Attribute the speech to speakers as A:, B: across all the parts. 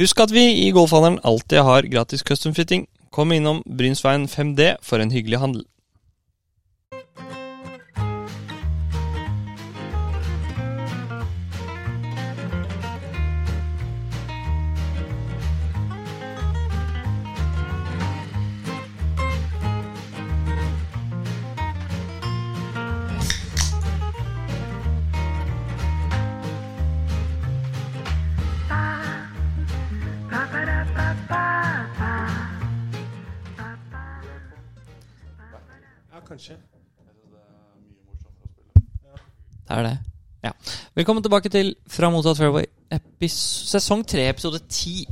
A: Husk at vi i Golfhandelen alltid har gratis custom fitting. Kom innom Brynsveien 5D for en hyggelig handel.
B: Ja, kanskje.
C: Det er det. Ja. Velkommen tilbake til Fra mottatt fairway, epis sesong tre, episode ti.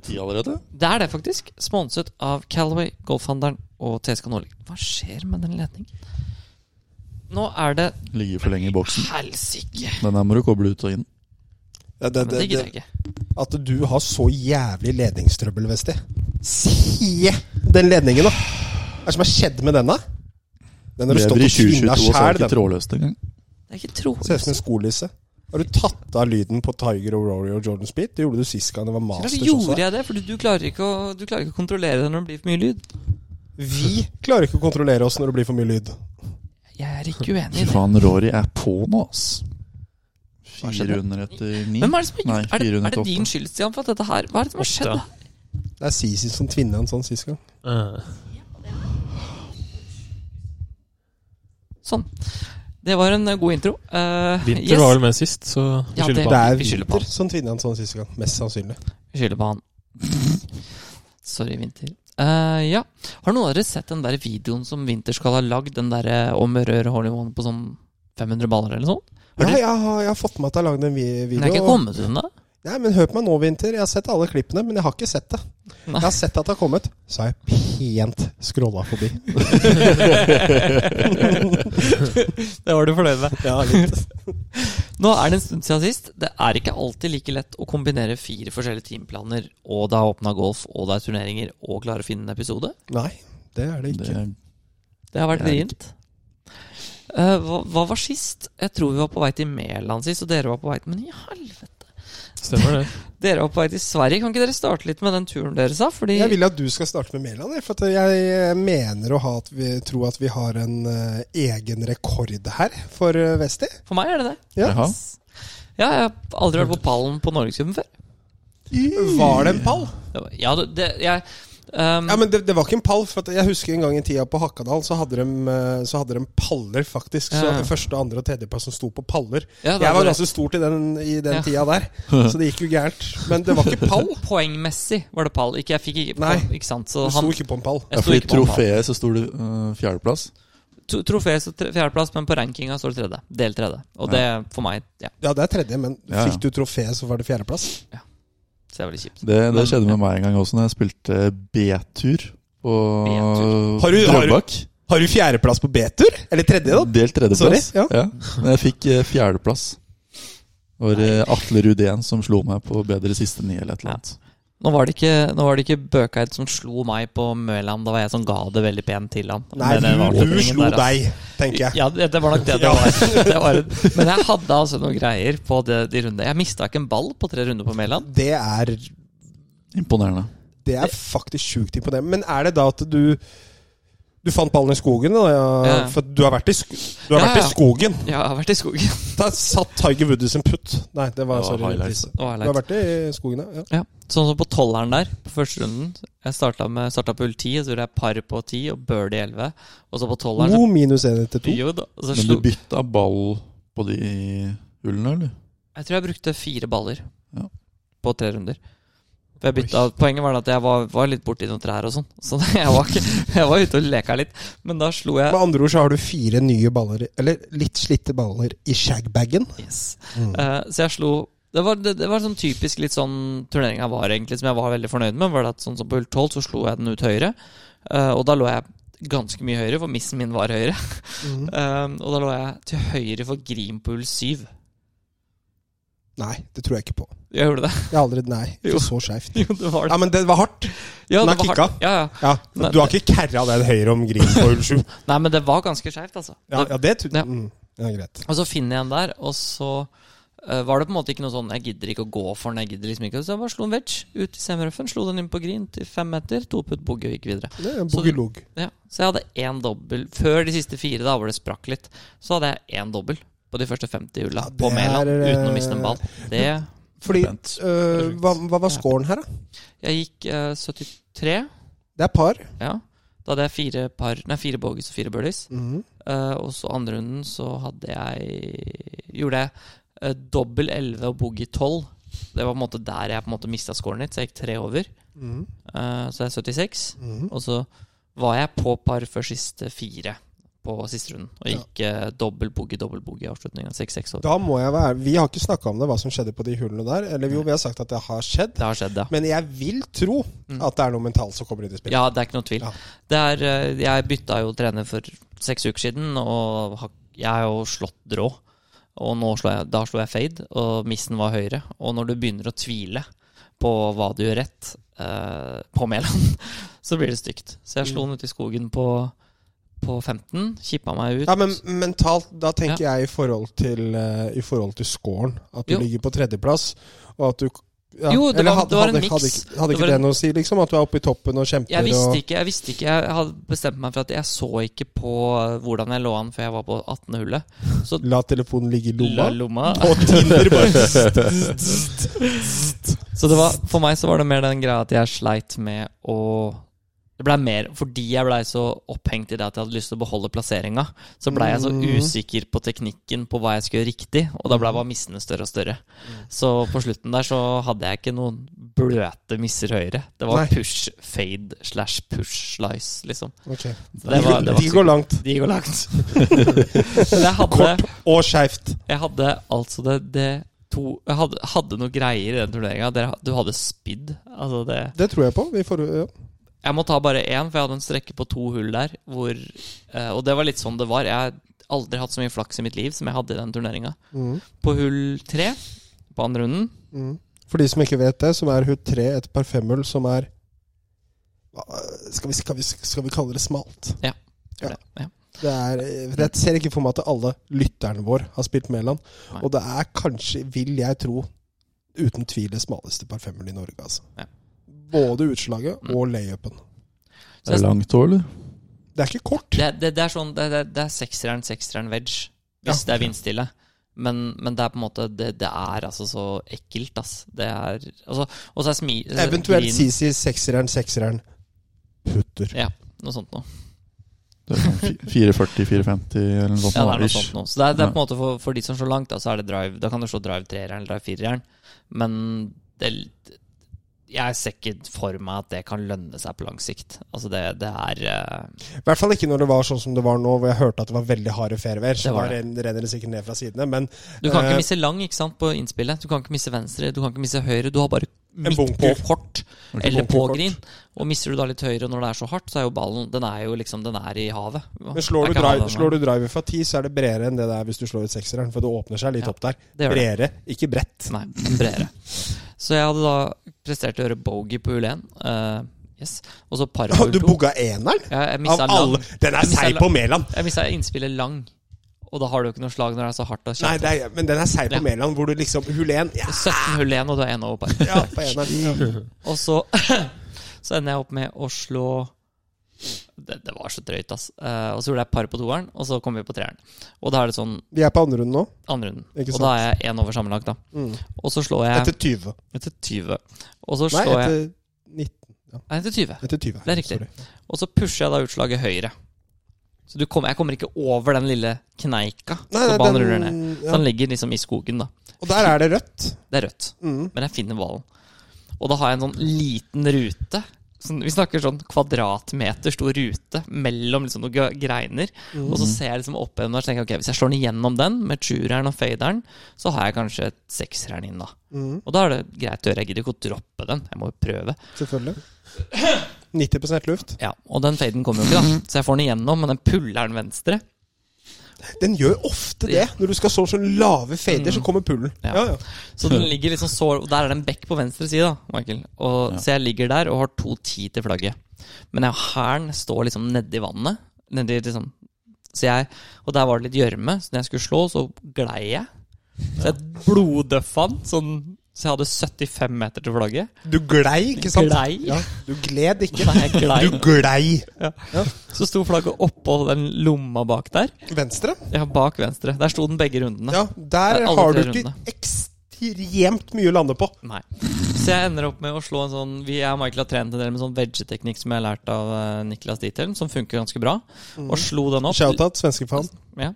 D: Ti allerede?
C: Det er det, faktisk. Sponset av Calaway, Golfhandelen og TSK Nordli. Hva skjer med den ledningen? Nå er det
D: Ligger for lenge i boksen.
C: helsike!
D: Den her må du koble ut og inn.
B: Det, det,
C: Men
B: det,
C: det gidder jeg ikke.
B: at du har så jævlig ledningstrøbbel, Vesti. Sie den ledningen, da! Hva er det som har skjedd med den, da? Den har du stått
D: Lever i
B: og tvinna
D: 2022 og så er
B: sjæl,
D: det ikke
B: den.
D: trådløst engang.
C: Det er ikke
B: Ser ut som
C: trolig.
B: en skolisse. Har du tatt av lyden på Tiger og Rory og Jordan Speed? Det gjorde du sist gang det var Masters
C: Hvorfor
B: også.
C: gjorde jeg det? Fordi du klarer, ikke å, du klarer ikke å kontrollere det når det blir for mye lyd.
B: Vi klarer ikke å kontrollere oss når det blir for mye lyd.
C: Jeg er ikke uenig
D: Fy
C: i det.
D: faen, Rory er på nå, ass.
C: Hva skjedde?
D: 400 etter 9.
C: Hvem er det som har
D: Nei,
C: gjort er det? Er det
D: 408.
C: din skyld, Stian, for at dette her Hva er det som har skjedd? da?
B: Det er Sisi som tvinna en sånn sist gang.
E: Eh,
C: Sånn. Det var en eh, god intro. Eh,
E: Vinter
C: yes.
E: var vel med sist, så vi
C: Ja,
E: skylder
C: det-
E: på
B: Det
E: han.
B: er
C: vi skylder på
B: Winter som tvinna en sånn sist gang. Mest sannsynlig.
C: Skylder på han. Sorry, Vinter. Eh, ja. Har noen av dere sett den der videoen som Vinter skal ha lagd? Den derre om rør hole in one på sånn 500 baller eller sånn? Har
B: Ja,
C: du-
B: jeg har, jeg har fått med at jeg har lagd en vi-
C: Den er
B: video. og-
C: ikke kommet ut ennå?
B: Nei, men Hør på meg nå, Winter. Jeg har sett alle klippene, men jeg har ikke sett det. Jeg har sett at det har kommet, så har jeg pent scrolla forbi.
C: Det var du fornøyd med.
B: Ja, litt.
C: Nå er det en stund siden sist. Det er ikke alltid like lett å kombinere fire forskjellige teamplaner, og det er åpna golf, og det er turneringer, og klare å finne en episode.
B: Nei, det er det
D: Det
B: ikke.
D: er
C: Det har vært
D: Det er
C: vrient. Eh, hva, hva var sist? Jeg tror vi var på vei til Mæland sist, og dere var på vei til Men i helvete!
E: Stemmer det.
C: Dere var på vei til Sverige. Kan ikke dere starte litt med den turen dere sa? Fordi
B: Jeg vil at du skal starte med Mæland, jeg, for at jeg mener å ha at vi, tro at vi har en eh, egen rekord her for eh, Vesti.
C: For meg er det det.
B: Ja.
D: Jaha.
C: Ja, jeg har aldri vært på pallen på Norgescupen før.
B: Var det en pall?
C: Det var- Ja, det, det jeg ehm,
B: Ja, men det, det var ikke en pall. For at jeg husker en gang i tida på Hakadal, så hadde de, eh, så hadde de paller, faktisk. Så
C: Ja, ja.
B: første, andre og tredjeplass som sto på paller.
C: Ja, det
B: jeg
C: var
B: var
C: det.
B: ganske stor til den i den
C: Ja.
B: tida der, så det gikk jo gærent. Men det var ikke pall.
C: poengmessig var det pall. Ikke, jeg fikk ikke
B: Nei.
C: pall, ikke sant? Så
B: Du
C: han,
B: sto ikke på en pall.
C: jeg
D: Ja,
C: sto
D: fordi
C: ikke på pallen.
D: trofeet så sto det øh, fjerdeplass.
C: To- Trofé så tre- fjerdeplass, men på rankinga står det tredje. Del tredje. Og det, for meg, ja.
B: Ja, det er tredje, men
D: Ja, ja.
B: fikk du trofeet, så var det fjerdeplass.
C: Så det er veldig kjipt.
D: Det, det skjedde med meg en gang også, når jeg spilte B-tur på
B: Har du- har du-
D: Drøbak.
B: Har du fjerdeplass på B-tur? Eller tredje, da?
D: Delt tredjeplass.
B: Sorry, ja.
D: Men jeg fikk eh, fjerdeplass. Det var eh, Atle Rudén som slo meg på bedre siste ni eller et eller annet.
C: Nå var det ikke, nå var det ikke Bøkeid som slo meg på Møland. Da var jeg som ga det veldig pent til han.
B: Nei,
C: Med den
B: du, du
C: avslutningen
B: slo
C: der, altså.
B: deg, tenker jeg.
C: Ja, det, det var nok det det
B: Ja.
C: var. Det var en, men jeg hadde altså noen greier på det, de rundene. Jeg mista ikke en ball på tre runder på Mæland.
B: Det er,
D: Imponerende.
B: det er faktisk sjukt imponerende. Men er det da at du du fant ballen i skogen? Da, ja,
C: Ja.
B: For du har vært i, sk du har
C: Ja,
B: vært
C: ja.
B: i skogen.
C: Ja, jeg har vært i skogen.
B: Da satt Tiger Woods en putt. Nei, det var,
D: Det var
B: sorry.
D: highlights.
B: Chris.
C: Det var
B: Du har
C: leit.
B: vært i skogen, ja.
C: Ja. Sånn som på tolveren der, på første runden. Jeg starta, med, starta på hull ti, og så gjorde jeg par på ti og birdie elleve. Og så på tolveren
B: God minus én etter
C: så,
B: to.
C: jo, da, og så
D: Men
C: slo
D: du bytta ball på de hullene, eller?
C: Jeg tror jeg brukte fire baller
D: Ja.
C: på tre runder. For Jeg bytta, poenget var at jeg var, var litt borti noen trær og sånn. Så jeg var, ikke, jeg var ute og leka litt. Men da slo jeg
B: Med andre ord så har du fire nye baller, eller litt slitte baller, i shagbagen.
C: Yes. Eh, så jeg slo det var, det, det var sånn typisk litt sånn turneringa var, egentlig, som jeg var veldig fornøyd med. Var det at sånn som På hull 12 så slo jeg den ut høyre, eh, og da lå jeg ganske mye høyere, for missen min var høyere.
B: Mm.
C: Eh, og da lå jeg til høyre for green på hull 7.
B: Nei, det tror jeg ikke på.
C: Jeg gjorde det.
B: Jeg har aldri, Nei,
C: Jo.
B: ikke så skeivt.
C: Jo, det var det.
B: Ja, men det var hardt.
C: Ja,
B: den
C: det
B: har
C: var
B: kicka.
C: hardt. Ja, ja.
B: Ja,
C: Nei,
B: Du har ikke kerra den høyre om green på hull sju?
C: Nei, men det var ganske skeivt, altså.
B: Ja,
C: Det-
B: ja, det tror
C: Ja.
B: mm, ja, greit.
C: Og så finner jeg en der, og så eh, var det på en måte ikke noe sånn 'jeg gidder ikke å gå for den', jeg gidder liksom ikke Så jeg bare slo en wedge ut i semrøffen, slo den inn på green til fem meter, to putt bogey og gikk videre.
B: Det er en
C: Så-
B: boogelog.
C: Ja, så jeg hadde én dobbel før de siste fire, da hvor det sprakk litt. Så hadde jeg én dobbel på de første 50 hulla
B: Ja, det
C: på Mæland
B: er, eh,
C: uten å miste en ball. Det
B: Fordi
D: Vent.
B: øh, hva, hva var scoren her, da?
C: Jeg gikk eh, 73,
B: Det er par.
C: ja. Da hadde jeg fire par Nei, fire bogies og fire birdies.
B: Mhm.
C: Eh, og så andre runden så hadde jeg Gjorde jeg eh, dobbel 11 og boogie 12. Det var på en måte der jeg på en måte mista scoren litt, så jeg gikk tre over.
B: Mhm.
C: Eh, så jeg er 76.
B: Mhm.
C: Og så var jeg på par før siste fire på siste runden. Og gikk eh, dobbel boogie, dobbel boogie i avslutningen. 6-6 over.
B: Da må jeg være Vi har ikke snakka om det, hva som skjedde på de hullene der. Eller jo, vi har sagt at det har skjedd.
C: Det har skjedd, ja.
B: Men jeg vil tro
C: Mm.
B: at det er noe mentalt som kommer inn i spillet.
C: Ja, det er ikke noe tvil.
B: Ja.
C: Det er, eh, jeg bytta jo trener for seks uker siden, og har- jeg har jo slått drå. Og nå slår jeg, da slo jeg fade, og missen var høyre. Og når du begynner å tvile på hva du gjør rett eh, på Mæland, så blir det stygt. Så jeg slo
B: Mm.
C: den ut i skogen på, på 15, kippa meg ut.
B: Ja, men mentalt, da tenker jeg i forhold til, eh, i forhold til scoren. At du
C: Jo.
B: ligger på tredjeplass, og at du ja,
C: Jo, det
B: eller
C: var- det var en
B: hadde, hadde,
C: mix.
B: ikke- hadde
C: Det var
B: ikke det
C: en-
B: noe å si, liksom? At du er oppe i toppen og kjemper
C: jeg visste
B: og
C: ikke, jeg visste ikke Jeg hadde bestemt meg for at jeg så ikke på eh, hvordan jeg lå an før jeg var på 18. hullet. Så
B: La telefonen ligge i lomma.
C: la lomma
B: Og Tinder bare
C: Så det var, for meg så var det mer den greia at jeg sleit med å Det blei mer fordi jeg blei så opphengt i det at jeg hadde lyst til å beholde plasseringa. Så blei jeg så
B: Mm.
C: usikker på teknikken på hva jeg skulle gjøre riktig, og da blei bare missene større og større. Så på slutten der så hadde jeg ikke noen bløte misser høyre. Det var
B: Nei.
C: push fade slash push slice, liksom.
B: Ok.
C: Så Det var, det var
B: De går langt.
C: de går langt. Men jeg hadde,
B: Kort og skeivt.
C: jeg hadde altså det, det to Jeg hadde, hadde noen greier i den turneringa. Du hadde spidd. Altså det
B: Det tror jeg på. Vi får, ja.
C: Jeg må ta bare én, for jeg hadde en strekke på to hull der. Hvor, eh, og det var litt sånn det var. Jeg har aldri hatt så mye flaks i mitt liv som jeg hadde i den turneringa.
B: Mhm.
C: På hull tre, på andre runden
B: Mhm. For de som ikke vet det, som er hull tre, et par femhull som er Hva- skal vi, skal, vi, skal vi kalle det smalt?
C: gjør det. Ja.
B: Det er, jeg ser ikke for meg at alle lytterne våre har spilt Mæland.
C: Nei.
B: Og det er kanskje, vil jeg tro, uten tvil det smaleste parfymen i Norge. Altså.
C: Ja. Mm.
B: Både utslaget og layupen.
D: Er det langt hår, eller?
B: Det er ikke kort.
C: Det, det, det er sånn Det, det, det er seksteren, seksteren wedge. Hvis det er vindstille. Men, men det er på en måte Det, det er altså så ekkelt, ass. Det er altså, Og så er smi...
B: Eventuelt
C: green-
B: CC sekseren, sekseren. Putter.
C: Ja, noe sånt noe.
D: Det er sånn fi- 440-450 eller noe sånt.
C: Ja, det er noe
D: ish.
C: sånt noe. Så det er, det er
D: Ja.
C: på en måte for, for de som slår langt, da, så er det drive. Da kan du slå drive treeren eller drive fireren. Men det, jeg ser ikke for meg at det kan lønne seg på lang sikt. Altså, det, det er eh,
B: I hvert fall ikke når det var sånn som det var nå, hvor jeg hørte at det var veldig harde fairwayer. Så
C: Det var
B: da ren- renner det sikkert ned fra sidene. Men
C: Du kan
B: Eh,
C: ikke misse lang ikke sant, på innspillet. Du kan ikke misse venstre, du kan ikke misse høyre. Du har bare midt på
B: bunker.
C: kort eller på
B: bunker
C: green. Og misser du da litt høyre når det er så hardt, så er jo ballen Den er jo liksom Den er i havet.
B: men slår,
C: Jeg
B: du
C: kan ha
B: drive,
C: den,
B: slår du driver fra ti, så er det bredere enn det det er hvis du slår ut sekseren. For det åpner seg litt
C: Ja,
B: opp der.
C: det gjør det.
B: Bredere, ikke bredt.
C: Nei, bredere. Så jeg hadde da prestert å gjøre bogey på hull 1. eh, yes. Og så par
B: Å,
C: på hull
B: Du
C: 2.
B: bugga eneren?
C: Jeg, jeg
B: Av
C: missa lang.
B: alle. Den er
C: Jeg misser
B: seig
C: lang.
B: på Mæland!
C: Jeg mista innspillet lang. Og da har du jo ikke noe slag når det er så hardt og
B: Nei,
C: kjapt.
B: det er, men den er seig på
C: Ja.
B: Mæland, hvor du liksom Hull 1 ja,
C: 17 hull igjen, og du er én over par.
B: ja, på eneren.
C: Og så, så ender jeg opp med å slå det, det var så drøyt, ass. Eh, og så gjorde jeg par på toeren, og så kom vi på treeren. Og da er det sånn
B: Vi er på andre runden nå,
C: andre runden.
B: Ikke
C: Og
B: sant?
C: da er jeg én over sammenlagt, da.
B: Mm.
C: Og så slår jeg
B: etter 20.
C: etter 20. Og så
B: Nei,
C: slår
B: etter
C: jeg
B: 19.
C: Nei, etter 20.
B: Etter 20.
C: Det er riktig.
B: Sorry.
C: Og så pusher jeg da utslaget høyre. Så du kommer- jeg kommer ikke over den lille kneika
B: Nei,
C: som
B: nei,
C: ballen ruller ned.
B: den,
C: Så
B: ja.
C: den ligger liksom i skogen, da.
B: Og der er det rødt.
C: Det er rødt.
B: Mm.
C: men jeg finner ballen. Og da har jeg en sånn liten rute. Sånn, vi snakker sånn kvadratmeter stor rute mellom liksom noen gre- greiner.
B: Mm.
C: Og så ser jeg liksom opp gjennom der, så tenker jeg ok, hvis jeg slår den igjennom den med tjureren og faderen, så har jeg kanskje et sekseren inn, da.
B: Mm.
C: Og da er det greit å gjøre. Jeg gidder ikke å droppe den, jeg må jo prøve.
B: Selvfølgelig. 90 luft.
C: Ja, Og den faden kommer jo ikke, da. Så jeg får den igjennom, men den puller den venstre.
B: Den gjør ofte det. Når du skal så sånn lave fader, så kommer pullen.
C: Mm. Ja.
B: Ja, ja.
C: Så den ligger liksom så Og der er det en bekk på venstre side, da, Michael. Og, Så jeg ligger der og har 2,10 til flagget. Men jeg- hælen står liksom nedi vannet. Nedi liksom Så jeg Og der var det litt gjørme, så når jeg skulle slå, så glei jeg. Så jeg bloddøffa den, sånn, så jeg hadde 75 meter til flagget.
B: Du glei, ikke sant?
C: Glei.
B: Ja, du gled ikke.
C: Nei, jeg glei.
B: Du glei
C: Så sto flagget oppå den lomma bak der.
B: venstre.
C: Ja, bak venstre. Der sto den begge rundene.
B: Ja, der
C: Det er alle
B: har du
C: tre
B: ikke
C: rundene.
B: ekstremt mye å lande på.
C: Nei. Så jeg ender opp med å slå en sånn vi, Jeg og Michael har trent en del med sånn veggeteknikk som jeg har lært av eh, Niklas Diethelm, som funker ganske bra. Og slo den opp.
B: Mm. Shoutout, svenskefaen.
C: Ja.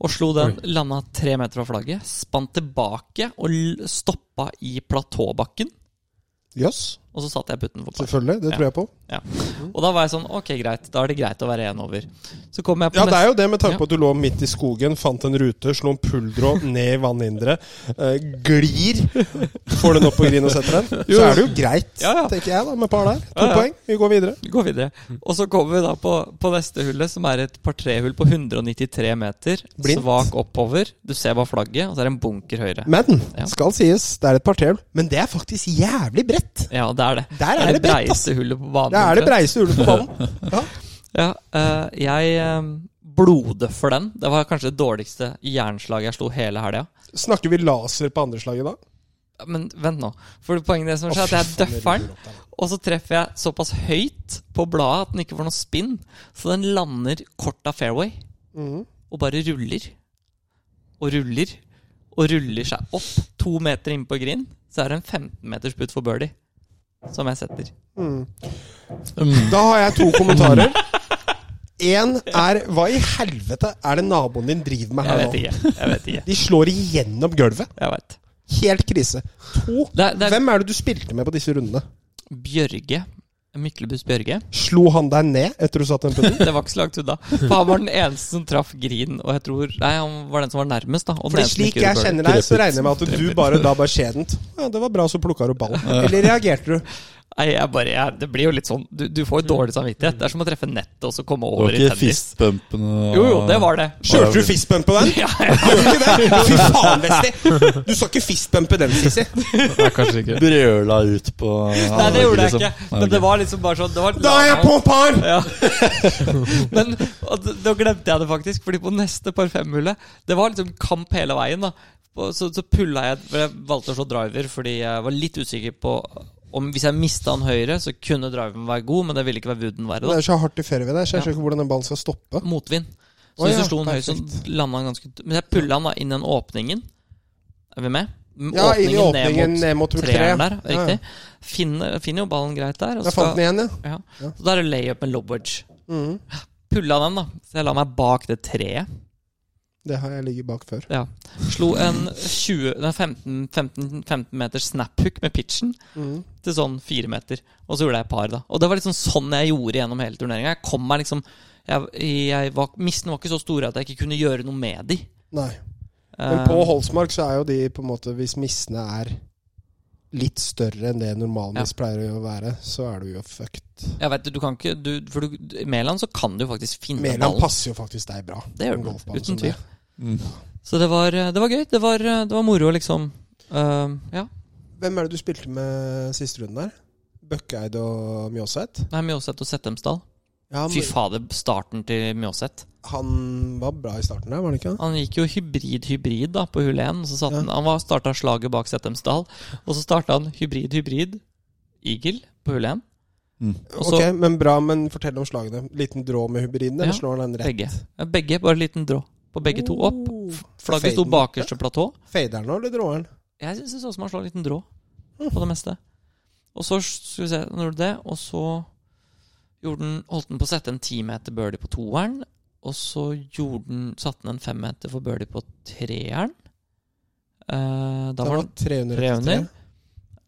C: Og slo den, landa tre meter fra flagget, spant tilbake og l- stoppa i platåbakken.
B: Jøss,
C: Og så satte jeg putten for par.
B: selvfølgelig. Det tror jeg på.
C: Og da var jeg sånn Ok, greit. Da er det greit å være én over. Så kom jeg på
B: Ja, det
C: neste
B: er jo det, med tanke
C: Ja.
B: på at du lå midt i skogen, fant en rute, slo en pulldrå ned i vannhinderet, eh, glir, får den opp på grin og setter den. Så er det jo greit,
C: Ja, ja.
B: tenker jeg, da, med par der. To
C: Ja, ja.
B: poeng, vi går videre.
C: Vi går videre. Og så kommer vi da på, på neste hullet, som er et par-tre-hull på 193 meter.
B: Blindt.
C: Svak oppover. Du ser bare flagget, og så er det en bunker høyre.
B: Men,
C: Ja.
B: skal sies, det er et parterl, men det er faktisk jævlig bredt.
C: Ja, det er det.
B: Der er det bredt, ass.
C: breieste hullet på banen.
B: Det er det
C: omtrent.
B: breiste hullet på banen. Ja.
C: Ja, eh, jeg eh, bloddøffer den. Det var kanskje det dårligste jernslaget jeg slo hele helga.
B: Snakker vi laser på andre slaget da?
C: Men vent nå. For poenget er det som skjer, er at jeg døffer den, og så treffer jeg såpass høyt på bladet at den ikke får noe spinn, så den lander kort av fairway.
B: Mhm.
C: og bare ruller. Og ruller. Og ruller seg opp to meter inn på green. Så er det en 15 meters putt for birdie. Som jeg setter.
E: Mm.
B: Da har jeg to kommentarer. Én er Hva i helvete er det naboen din driver med
C: Jeg
B: her
C: vet
B: nå?
C: ikke. Jeg vet ikke.
B: De slår igjennom gulvet.
C: Jeg vet.
B: Helt krise. To.
C: Det er, det er
B: Hvem er det du spilte med på disse rundene?
C: Bjørge. Myklebust Bjørge.
B: Slo han deg ned etter du satte den putten?
C: Det var ikke så langt unna. For han var den eneste som traff green. Og jeg tror Nei, han var den som var nærmest, da. Og
B: Fordi
C: den eneste som
B: slik
C: ikke
B: jeg
C: gjorde birdie.
B: kjenner deg, så regner jeg med at du bare la bare skjedent. Ja, det var bra, så plukka du ballen. Eller reagerte du?
C: Nei, jeg bare jeg, Det blir jo litt sånn Du, du får jo dårlig samvittighet. Det er som å treffe nettet og så komme
D: Det var
C: over i
D: ikke
C: tennis.
D: fistbumpene og-
C: Jo, jo, det var det.
B: Kjørte du fistbump på den?
C: Ja, ja.
B: Gjorde du ikke det? Fy faen, Vesti! Du skal ikke fistbumpe den, Sissi.
E: Nei, kanskje ikke.
D: Brøla ut på
C: Nei, det gjorde jeg
D: liksom.
C: ikke.
D: Nei,
C: Men
D: ok.
C: det var liksom bare sånn det var et
B: Da er jeg på
C: lavmål.
B: par!
C: Ja. Men og, d- da glemte jeg det faktisk, Fordi på neste par fem-hullet Det var liksom kamp hele veien. da Og Så, så pulla jeg For jeg valgte å slå driver fordi jeg var litt usikker på om hvis jeg mista han høyre, så kunne driveren være god, men det ville ikke være wooden
B: Det
C: være.
B: er så hardt i ferien der, så jeg skjønner ikke hvordan den ballen skal stoppe.
C: da Motvind.
B: Å
C: Så hvis
B: ja,
C: jeg slo han høyt, så
B: perfekt.
C: landa han ganske Men jeg pulla han da inn i den åpningen. Er vi med? M-
B: Ja, inn i åpningen ned mot hull tre.
C: treeren der.
B: Ja, ja.
C: Riktig. Finner, finner jo ballen greit der. og
B: Jeg fant den igjen, ja.
C: ja.
B: Ja.
C: Så da er det layup med lob wedge.
B: Mhm.
C: Pulla den, da. Så jeg la meg bak det treet.
B: Det har jeg ligget bak før.
C: Ja. Slo en 20, nei, 15, 15, 15 meter snaphook med pitchen
B: Mhm.
C: til sånn fire meter. Og så gjorde jeg par, da. Og det var liksom sånn jeg gjorde gjennom hele turneringa. Jeg kom meg liksom jeg, jeg var, Missene var ikke så store at jeg ikke kunne gjøre noe med de. Eh,
B: Nei. Men på Holsmark så er jo de på en måte Hvis missene er litt større enn det normalmiss pleier å være, så er du jo fucked.
C: Jeg vet, du kan ikke du, For du, Mæland så kan du faktisk finne
B: Mæland
C: Mm, ballen.
B: passer jo faktisk deg bra.
C: Det
B: på sånn,
C: gjør
B: en
C: den,
B: golfbane
C: uten
B: som det.
D: Mm.
C: Så det var, eh, det var gøy. Det var, det var moro, liksom. Eh, ja.
B: Hvem er det du spilte med siste runden der? Bøkkeid og Mjåseth?
C: Nei, Mjåseth og Settemsdal.
B: Ja,
C: Fy
B: men
C: fader, starten til Mjåseth.
B: han var bra i starten der, var han ikke? det?
C: Han gikk jo hybrid-hybrid da på hull 1. Så satt
B: Ja.
C: han, han var- starta slaget bak Settemsdal. Og så starta han hybrid-hybrid eagle på hull 1.
D: Mm.
C: Og så
B: ok, men bra, men fortell om slagene. Liten drå med hybridene, eller
C: Ja,
B: slår han den rett?
C: begge. Ja, Begge, bare en liten drå på begge to opp. Flagget sto
B: faden.
C: bakerste platå.
B: Fader nå, eller dråeren?
C: Jeg syns det så ut som han slår en liten drå på det meste. Og så skal vi se, han gjorde det, og så gjorde den, holdt den på å sette en timeter birdie på toeren. Og så gjorde den, satte den en femmeter for birdie på treeren. Eh, da
B: Det
C: var
B: var
C: den
B: 300.
C: 300.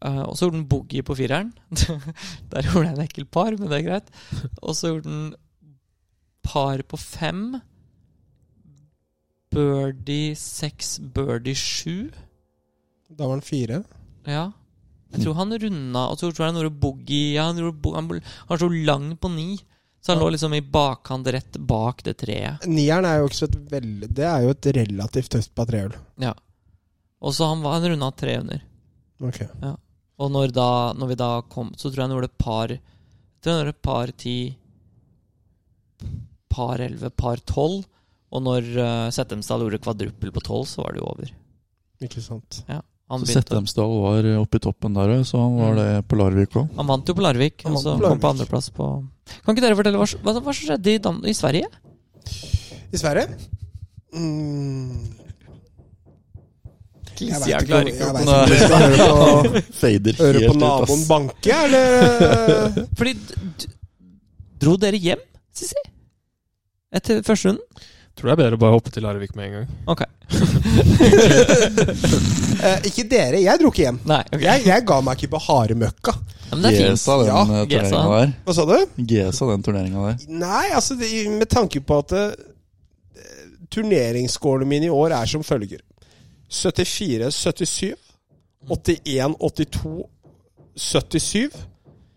C: Eh, og så gjorde den boogie på fireren. Der gjorde jeg en ekkel par, men det er greit. Og så gjorde den par på fem. Birdie seks, birdie sju.
B: Da var han fire.
C: Ja. Jeg tror han runda, og så tror jeg han gjorde boogie ja, han, gjorde bo han, han sto lang på ni. Så han lå liksom i bakhand rett bak det treet.
B: Nieren er jo ikke så et veldig Det er jo et relativt tøft patrehull.
C: Ja. Og så han, var- han runda tre under.
B: Ok.
C: Og når, da, når vi da kom, så tror jeg han gjorde par jeg tror han gjorde par 10, par eh, 11, par 12. Og når uh, Settemsdal gjorde kvadruppel på 12, så var det jo over.
B: Ikke sant.
C: Han,
D: Så
C: begynte, Mm.
D: Settemsdal var oppe i toppen der òg, så han var det på Larvik òg.
C: han vant jo på Larvik,
B: Han
C: og
B: vant
C: så
B: på
C: kom på
B: Larvik.
C: andreplass på Kan ikke dere fortelle hva, hva, hva som skjedde i, Dan i Sverige?
B: I Sverige mm, Jeg vet
C: Jeg
B: ikke om-
C: klarer
B: jeg
C: ikke å-
B: vet ikke om du skal høre på,
D: Fader
B: høre
D: helt
B: på
D: ut,
B: naboen
D: ass.
B: banke, eh, eller
C: Fordi d- d- Dro dere hjem, Sissi? Etter første runden?
E: Tror det er bedre å bare hoppe til Larvik med en gang.
C: Ok.
B: Eh, Ikke dere. Jeg dro ikke hjem.
C: Nei, ok.
B: Jeg, jeg ga meg ikke på harde møkka.
C: Ja, men det er fint.
D: Gesa den
B: Ja,
D: eh,
C: Gesa.
D: turneringen der.
B: Hva sa du?
D: Gesa den turneringa der.
B: Nei, altså det, med tanke på at eh, turneringsscorene mine i år er som følger 74, 77, 81, 82, 77.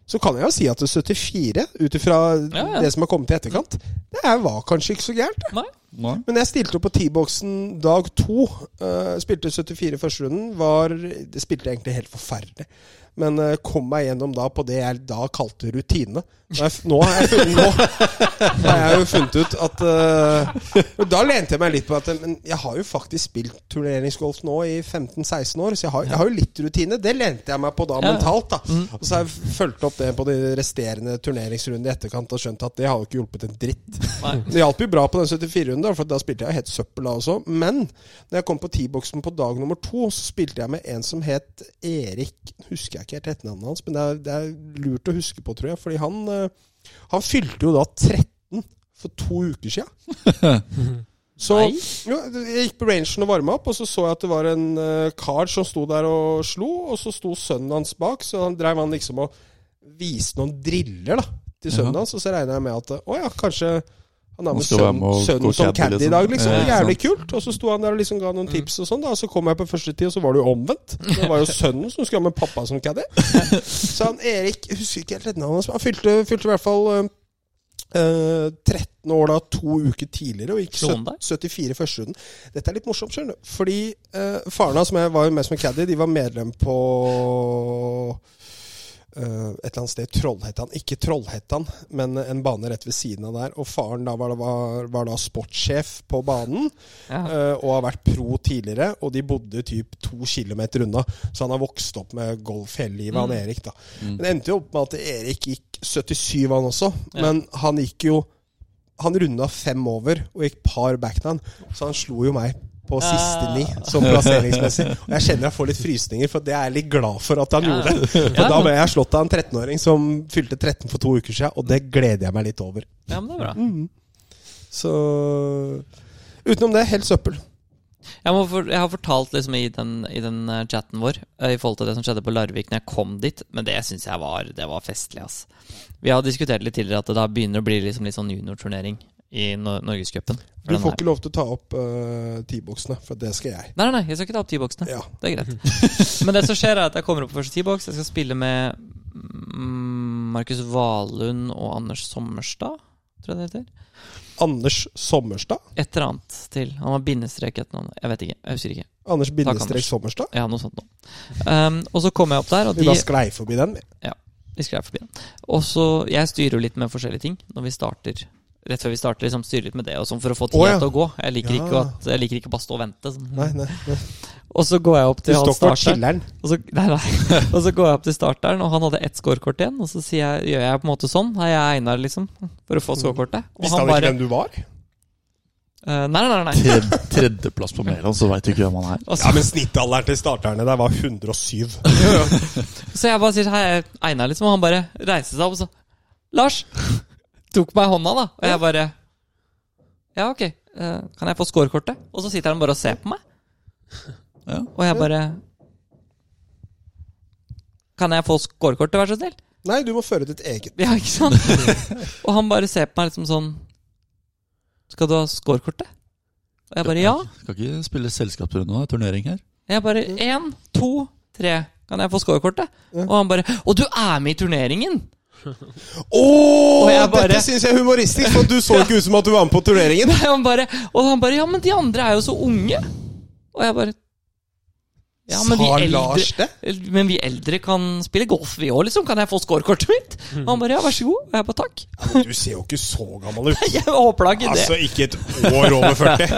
B: Så kan jeg jo si at 74, ut ifra
C: Ja, ja.
B: det som har kommet i etterkant, det her var kanskje ikke så gærent.
D: Nei.
B: Men jeg stilte opp på T-boksen dag to. eh, spilte 74 i første runden. Var, det spilte jeg egentlig helt forferdelig. Men eh, kom meg gjennom da på det jeg da kalte rutine. Nå har jeg, f- nå har jeg, funnet, nå har jeg jo funnet ut at eh, Da lente jeg meg litt på at eh, Men jeg har jo faktisk spilt turneringsgolf nå i 15-16 år, så jeg har, jeg har jo litt rutine. Det lente jeg meg på da
C: Ja.
B: mentalt. da Og så har jeg fulgt opp det på de resterende turneringsrundene i etterkant og skjønt at det har jo ikke hjulpet en dritt.
C: Nei.
B: Det hjalp jo bra på den 74-runden, for da spilte jeg helt søppel da også. Men når jeg kom på T-boksen på dag nummer to, så spilte jeg med en som het Erik Husker jeg ikke helt etternavnet hans, men det er, det er lurt å huske på, tror jeg. Fordi han, eh, han fylte jo da 13 for to uker sia. Så
C: Nei.
B: jo, jeg gikk på rangen og varma opp, og så så jeg at det var en eh, kar som sto der og slo, og så sto sønnen hans bak, så han dreiv han liksom og viste noen driller da, til sønnen
D: Ja.
B: hans, og så regna jeg med at å ja, kanskje han er
D: Han
B: med
D: skal være
B: sønnen,
D: med og gå
B: sønnen som
D: caddy,
B: caddy i
D: liksom.
B: dag, liksom.
D: Ja, ikke
B: Jævlig
D: sant. Mm.
B: kult. Og så sto han der og liksom ga noen tips og sånn, da, og så kom jeg på første tid, og så var det jo omvendt. Det var jo sønnen som skulle ha med pappa som caddy. Så han Erik, jeg husker ikke helt navnet hans, men han fylte, fylte i hvert fall eh, eh, 13 år da, to uker tidligere, og gikk
C: Slo han deg?
B: 74 i første runden. Dette er litt morsomt, skjønner du. Fordi eh, faren hans som jeg var jo med som caddy, de var medlem på eh, et eller annet sted i Trollhättan. Ikke Trollhättan, men en bane rett ved siden av der. Og faren da var, var, var da sportssjef på banen,
C: Ja.
B: eh, og har vært pro tidligere. Og de bodde typ to kilometer unna, så han har vokst opp med golf hele livet,
C: Mm.
B: han Erik. da. Men det endte jo opp med at Erik gikk 77, han også.
C: Ja.
B: Men han gikk jo Han runda fem over og gikk par backhand, så han slo jo meg på siste ni,
C: Ah.
B: som plasseringsmessig. Og jeg kjenner jeg får litt frysninger, for det er jeg litt glad for at han
C: Ja.
B: gjorde. For
C: Ja.
B: da ble jeg slått av en 13-åring som fylte 13 for to uker siden, og det gleder jeg meg litt over.
C: ja, men det er bra.
B: Så Utenom det, helt søppel.
C: Jeg, må for, jeg har fortalt liksom i den, i den eh, chatten vår eh, i forhold til det som skjedde på Larvik når jeg kom dit, men det syns jeg var, det var festlig, ass. Vi har diskutert litt tidligere at det da begynner å bli liksom litt sånn juniorturnering i no Norgescupen. For
B: Du
C: den
B: får
C: her-
B: ikke lov til å ta opp eh, T-boksene, for det skal jeg.
C: Nei, nei, nei, jeg skal ikke ta opp T-boksene.
B: Ja.
C: Det er greit. Men det som skjer, er at jeg kommer opp på første T-boks. Jeg skal spille med mm, Markus Valund og Anders Sommerstad, tror jeg det heter.
B: Anders Sommerstad.
C: Et eller annet til. Han har bindestrek etter navnet. Jeg vet ikke. Jeg husker ikke.
B: Anders bindestrek
C: Anders.
B: Sommerstad.
C: Jeg har noe sånt nå. Um, og så kommer jeg opp der, og
B: Vi
C: de
B: bare sklei forbi den.
C: Vi skrev forbi den. Og så, Jeg styrer jo litt med forskjellige ting når vi starter. Rett før vi starter, liksom styrer litt med det og sånn for å få tida
B: Å, ja.
C: til å gå. Jeg liker,
B: Ja.
C: ikke at, jeg liker ikke bare stå og vente. Sånn.
B: Nei, nei, nei.
C: Og så går jeg opp
B: Du
C: til
B: står ikke
C: han
B: og
C: starteren,
B: chiller'n.
C: og så, nei, nei. og så går jeg opp til starteren, og han hadde ett scorekort igjen. Og så sier jeg, gjør jeg på en måte sånn. Her er jeg Einar, liksom. For å få scorekortet. Og
B: Visste Mm. han ikke
C: han bare
B: hvem du var?
C: eh, Nei, nei, nei. nei.
D: Tred, tredjeplass på Mæland, så veit du ikke hvem han er.
C: Og
B: Ja,
C: så,
B: men snittalderen til starterne der var 107.
C: så jeg bare sier hei, jeg er Einar, liksom. Og han bare reiser seg opp og så Lars! Tok meg i hånda, da. Og jeg bare Ja, ok. eh, Kan jeg få scorekortet? Og så sitter han bare og ser på meg.
D: Ja.
C: Og jeg bare Kan jeg få scorekortet, vær så snill?
B: Nei, du må føre ditt eget.
C: Ja, ikke sant? og han bare ser på meg liksom sånn Skal du ha scorekortet? Og jeg bare ja.
D: Skal ikke spille selskapsrunde nå, det er turnering her.
C: Jeg bare én, to, tre. Kan jeg få scorekortet? Og han bare Og du er med i turneringen!
B: Ååå!
C: Og jeg bare-
B: Dette syns jeg er humoristisk, for du så ikke ut som at du var med på turneringen.
C: Og han bare, og han bare Ja, men de andre er jo så unge! Og jeg bare Ja, men vi
B: Sa
C: eldre,
B: Lars det?
C: men vi eldre kan spille golf, vi òg, liksom. Kan jeg få scorekortet mitt? Og han bare ja, vær så god. Og jeg bare takk.
B: Ja, men du ser jo ikke så gammel ut.
C: Jeg håper da ikke det.
B: Altså, ikke et år over 40.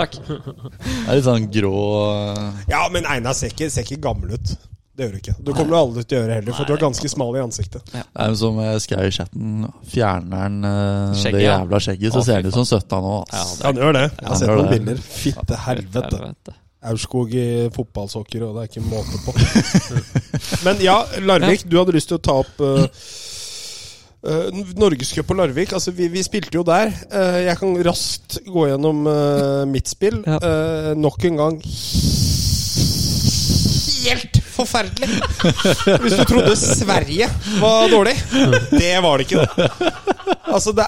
C: Takk.
D: Det er litt sånn grå eh,
B: Ja, men Einar ser ikke, ser ikke gammel ut. Det gjør du ikke. Du kommer du aldri til å gjøre heller, for du er ganske smal i ansiktet.
D: Det er jo som eh, Skau i chatten. Fjerner han eh,
C: Skjegget,
D: det
C: ja.
D: jævla skjegget,
C: Å,
D: så
C: fy
D: ser han ut som 17 nå. ass.
C: Ja, det
B: Han gjør det. Jeg har
D: han
B: sett
D: gjør
B: noen
D: det.
B: bilder. Fitte helvete.
C: helvete.
B: Aurskog i fotballsokker, og det er ikke måte på. Men ja, Larvik, du hadde lyst til å ta opp uh, uh, Norgescup på Larvik. Altså, vi, vi spilte jo der. Eh, jeg kan raskt gå gjennom eh, mitt spill.
C: Ja.
B: Eh, nok en gang helt forferdelig! Hvis du trodde Sverige var dårlig. Det var det ikke, det. Altså, det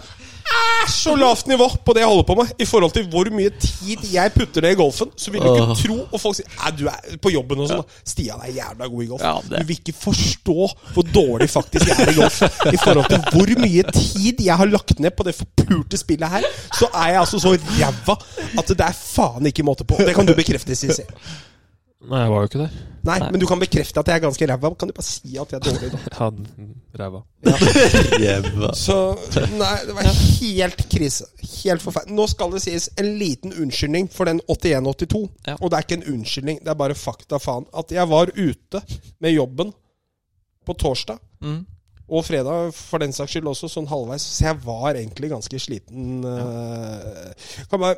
B: er så lavt nivå på det jeg holder på med, i forhold til hvor mye tid jeg putter det i golfen. Så vil du ikke tro Og folk sier Nei, du er på jobben og sånn. da. Stian er jævla god i golf.
C: Ja, det-
B: Du vil ikke forstå hvor dårlig faktisk jeg er i golf. I forhold til hvor mye tid jeg har lagt ned på det forpulte spillet her, så er jeg altså så ræva at det er faen ikke måte på. Det kan du bekrefte, Sissy.
E: Nei, jeg var jo ikke der.
B: Nei, men du kan bekrefte at jeg er ganske ræva. Kan du bare si at jeg er dårlig, da?
E: Ja, den ræva.
D: Jævla.
B: Så Nei, det var helt krise. Helt forferdelig. Nå skal det sies en liten unnskyldning for den 81-82.
C: Ja.
B: Og det er ikke en unnskyldning, det er bare fakta, faen. At jeg var ute med jobben på torsdag,
C: Mm.
B: og fredag for den saks skyld også, sånn halvveis. Så jeg var egentlig ganske sliten. eh, kan bare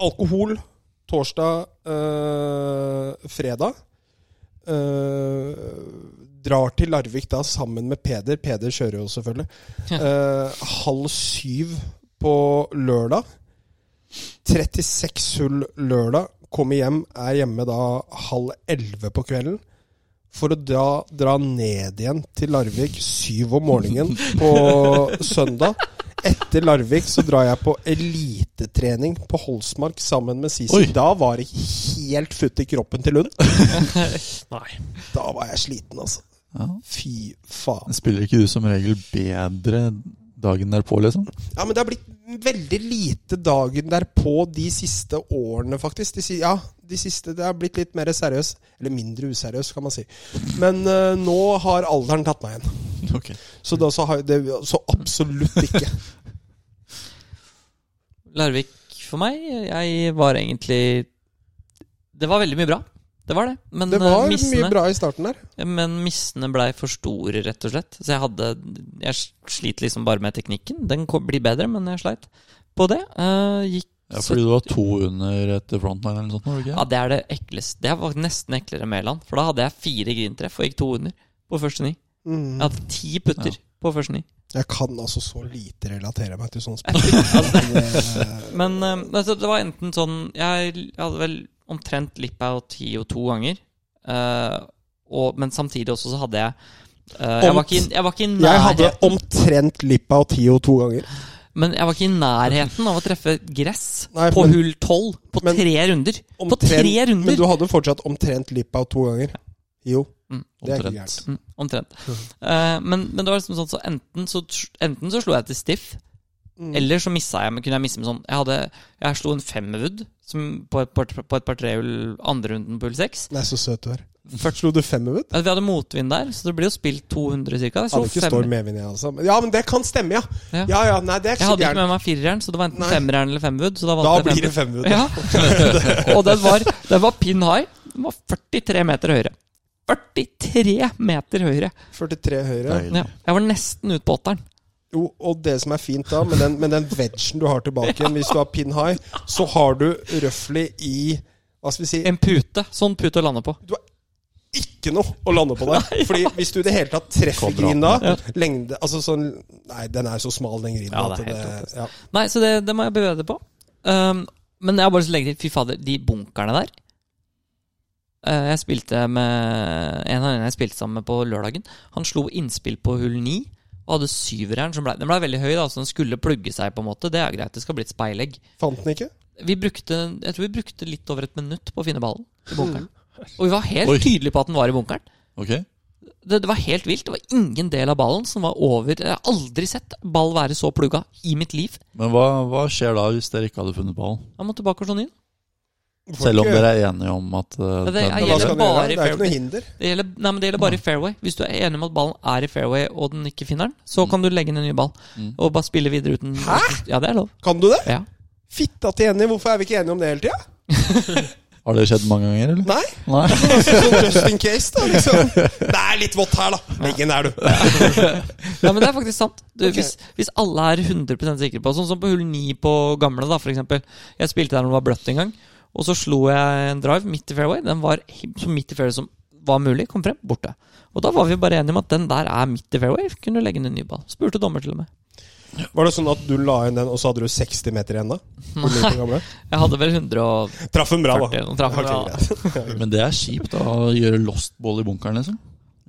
B: Alkohol torsdag, eh, fredag. Eh, drar til Larvik da sammen med Peder. Peder kjører jo selvfølgelig. Eh, halv syv på lørdag. 36 hull lørdag. Kommer hjem, er hjemme da halv elleve på kvelden. For å dra, dra ned igjen til Larvik syv om morgenen på søndag. Etter Larvik så drar jeg på elitetrening på Holsmark sammen med Sisi.
D: Oi.
B: Da var det helt futt i kroppen til Lund.
E: Nei.
B: Da var jeg sliten, altså.
D: Ja.
B: Fy faen.
D: Spiller ikke du som regel bedre dagen derpå, liksom?
B: Ja, men det har blitt veldig lite dagen derpå de siste årene, faktisk. De, si- ja, de siste Det har blitt litt mer seriøs. Eller mindre useriøs, kan man si. Men eh, nå har alderen tatt meg igjen.
D: Ok.
B: Så, da, så, har, det, så absolutt ikke.
C: Larvik for meg, jeg var egentlig Det var veldig mye bra. Det var det. Men
B: Det var
C: eh,
B: mye
C: missene,
B: bra i starten der.
C: men missene blei for store, rett og slett. Så jeg hadde Jeg sliter liksom bare med teknikken. Den ko- blir bedre, men jeg sleit på det. Eh, gikk
D: Ja, fordi du var to under etter frontline eller noe sånt? var du
C: Ja,
D: Ikke?
C: det er det ekleste. Det var nesten eklere enn Mæland. For da hadde jeg fire grintreff og gikk to under på første ni.
B: Mm.
C: Jeg hadde ti putter
D: Ja.
C: på første ni.
B: Jeg kan altså så lite relatere meg til sånn spill.
C: Men eh, altså, det var enten sånn Jeg hadde vel omtrent Lippau ti og to ganger. eh, og, men samtidig også så hadde jeg eh, jeg, var ikke, i- jeg var ikke i
B: Jeg hadde
C: nærheten
B: omtrent lippa og Tio to ganger.
C: Men jeg var ikke i nærheten av å treffe gress
B: Nei,
C: på
B: men-
C: hull tolv på
B: men-
C: tre runder! på
B: Omtrent-
C: tre
B: Men
C: runder!
B: du hadde fortsatt omtrent lippa og to ganger. Jo,
C: Mm.
B: det er ikke
D: Omtrent.
B: gærent.
C: Mm, omtrent. Eh, men, men det var liksom sånn så enten så, enten så slo jeg til stiff,
B: Mm.
C: eller så missa jeg. Men kunne jeg misse med sånn Jeg, hadde, jeg slo en femmerwood som på et, par- på et par trehull andre runden på hull seks.
B: Nei, så søt du er. Først slo du femmer ut.
C: Ja, vi hadde motvind der, så det blir jo spilt 200 ca. Jeg, slo
B: Hadde ikke
C: fem-
B: Storm medvind, jeg altså. Men, ja, men det kan stemme, ja!
C: Ja.
B: Ja, ja, nei, det er
C: jeg
B: ikke så
C: hadde ikke
B: gærent.
C: med meg fireren, så det var enten
B: Nei.
C: femmereren eller femwood. Så da
B: Da
C: valgte
B: blir
C: jeg
B: det femmer ut.
C: femwood. Ja. Og den var, den var pin high. Den var 43 meter høyere. 43 meter høyere!
B: 43 høyre.
D: Deilig.
C: Ja. Jeg var nesten ut på åtteren.
B: Jo, og det som er fint da, med den, med den vegen du har tilbake igjen, hvis du har pin high, så har du røffelig i Hva skal vi si
C: En pute. Sånn pute å lande på.
B: ikke noe å lande på der. Fordi hvis du i det hele tatt treffer
D: Kvadraten,
B: grina Lengde Altså sånn Nei, den er jo så smal, den grina.
C: Ja,
B: at
C: det er helt fantastisk.
B: ja.
C: Nei, så det, det må jeg bevege det på. Um, men jeg har bare lyst til å legge til, fy fader, de bunkerne der Eh, Jeg spilte med en av de jeg spilte sammen med på lørdagen. Han slo innspill på hull ni og hadde syveren som ble Den ble veldig høy, da, så den skulle plugge seg, på en måte. Det er greit, det skal bli et speilegg.
B: Fant den ikke?
C: Vi brukte, jeg tror vi brukte litt over et minutt på å finne ballen i bunkeren. Og vi var helt
D: Oi.
C: tydelige på at den var i bunkeren.
D: Ok.
C: Det, det var helt vilt. Det var ingen del av ballen som var over Jeg har aldri sett ball være så plugga i mitt liv.
D: Men hva, hva skjer da hvis dere ikke hadde funnet ballen?
C: Han måtte tilbake og slå den inn.
D: Selv om dere er enige om at eh,
C: det
D: den-
C: er-
B: Men hva skal den gjøre?
C: bare
B: Det er ikke
C: fair-
B: noe hinder.
C: Det gjelder, nei, men det gjelder bare i fairway. Hvis du er enig om at ballen er i fairway, og den ikke finner den, så kan du legge inn en ny ball
D: Mm.
C: og bare spille videre uten Hæ? Ja, det er lov.
B: Kan du det?
C: Ja.
B: Fitta til Jenny, hvorfor er vi ikke enige om det hele tida?
D: Har det skjedd mange ganger, eller?
B: Nei,
D: Nei?
B: sånn just in case, da. Liksom. Det er litt vått her, da. Legg inn der, du.
C: Nei, men det er faktisk sant. Du,
B: Ok.
C: hvis, hvis alle er 100 sikre på Sånn som på hull 9 på Gamle, da, for eksempel. Jeg spilte der når det var bløtt en gang, og så slo jeg en drive midt i fairway. Den var he- så midt i fairway som var mulig. Kom frem, borte. Og da var vi bare enige om at den der er midt i fairway. Kunne legge inn en ny ball. Spurte dommer til og med.
B: Var det sånn at du la inn den, og så hadde du 60 meter igjen, da? Hvor mye på gamle?
C: Jeg hadde vel 140
B: Traff den bra, da.
C: eller noe traff,
B: Ok,
C: ja.
B: greit.
D: Men det er kjipt da, å gjøre lost ball i bunkeren, liksom.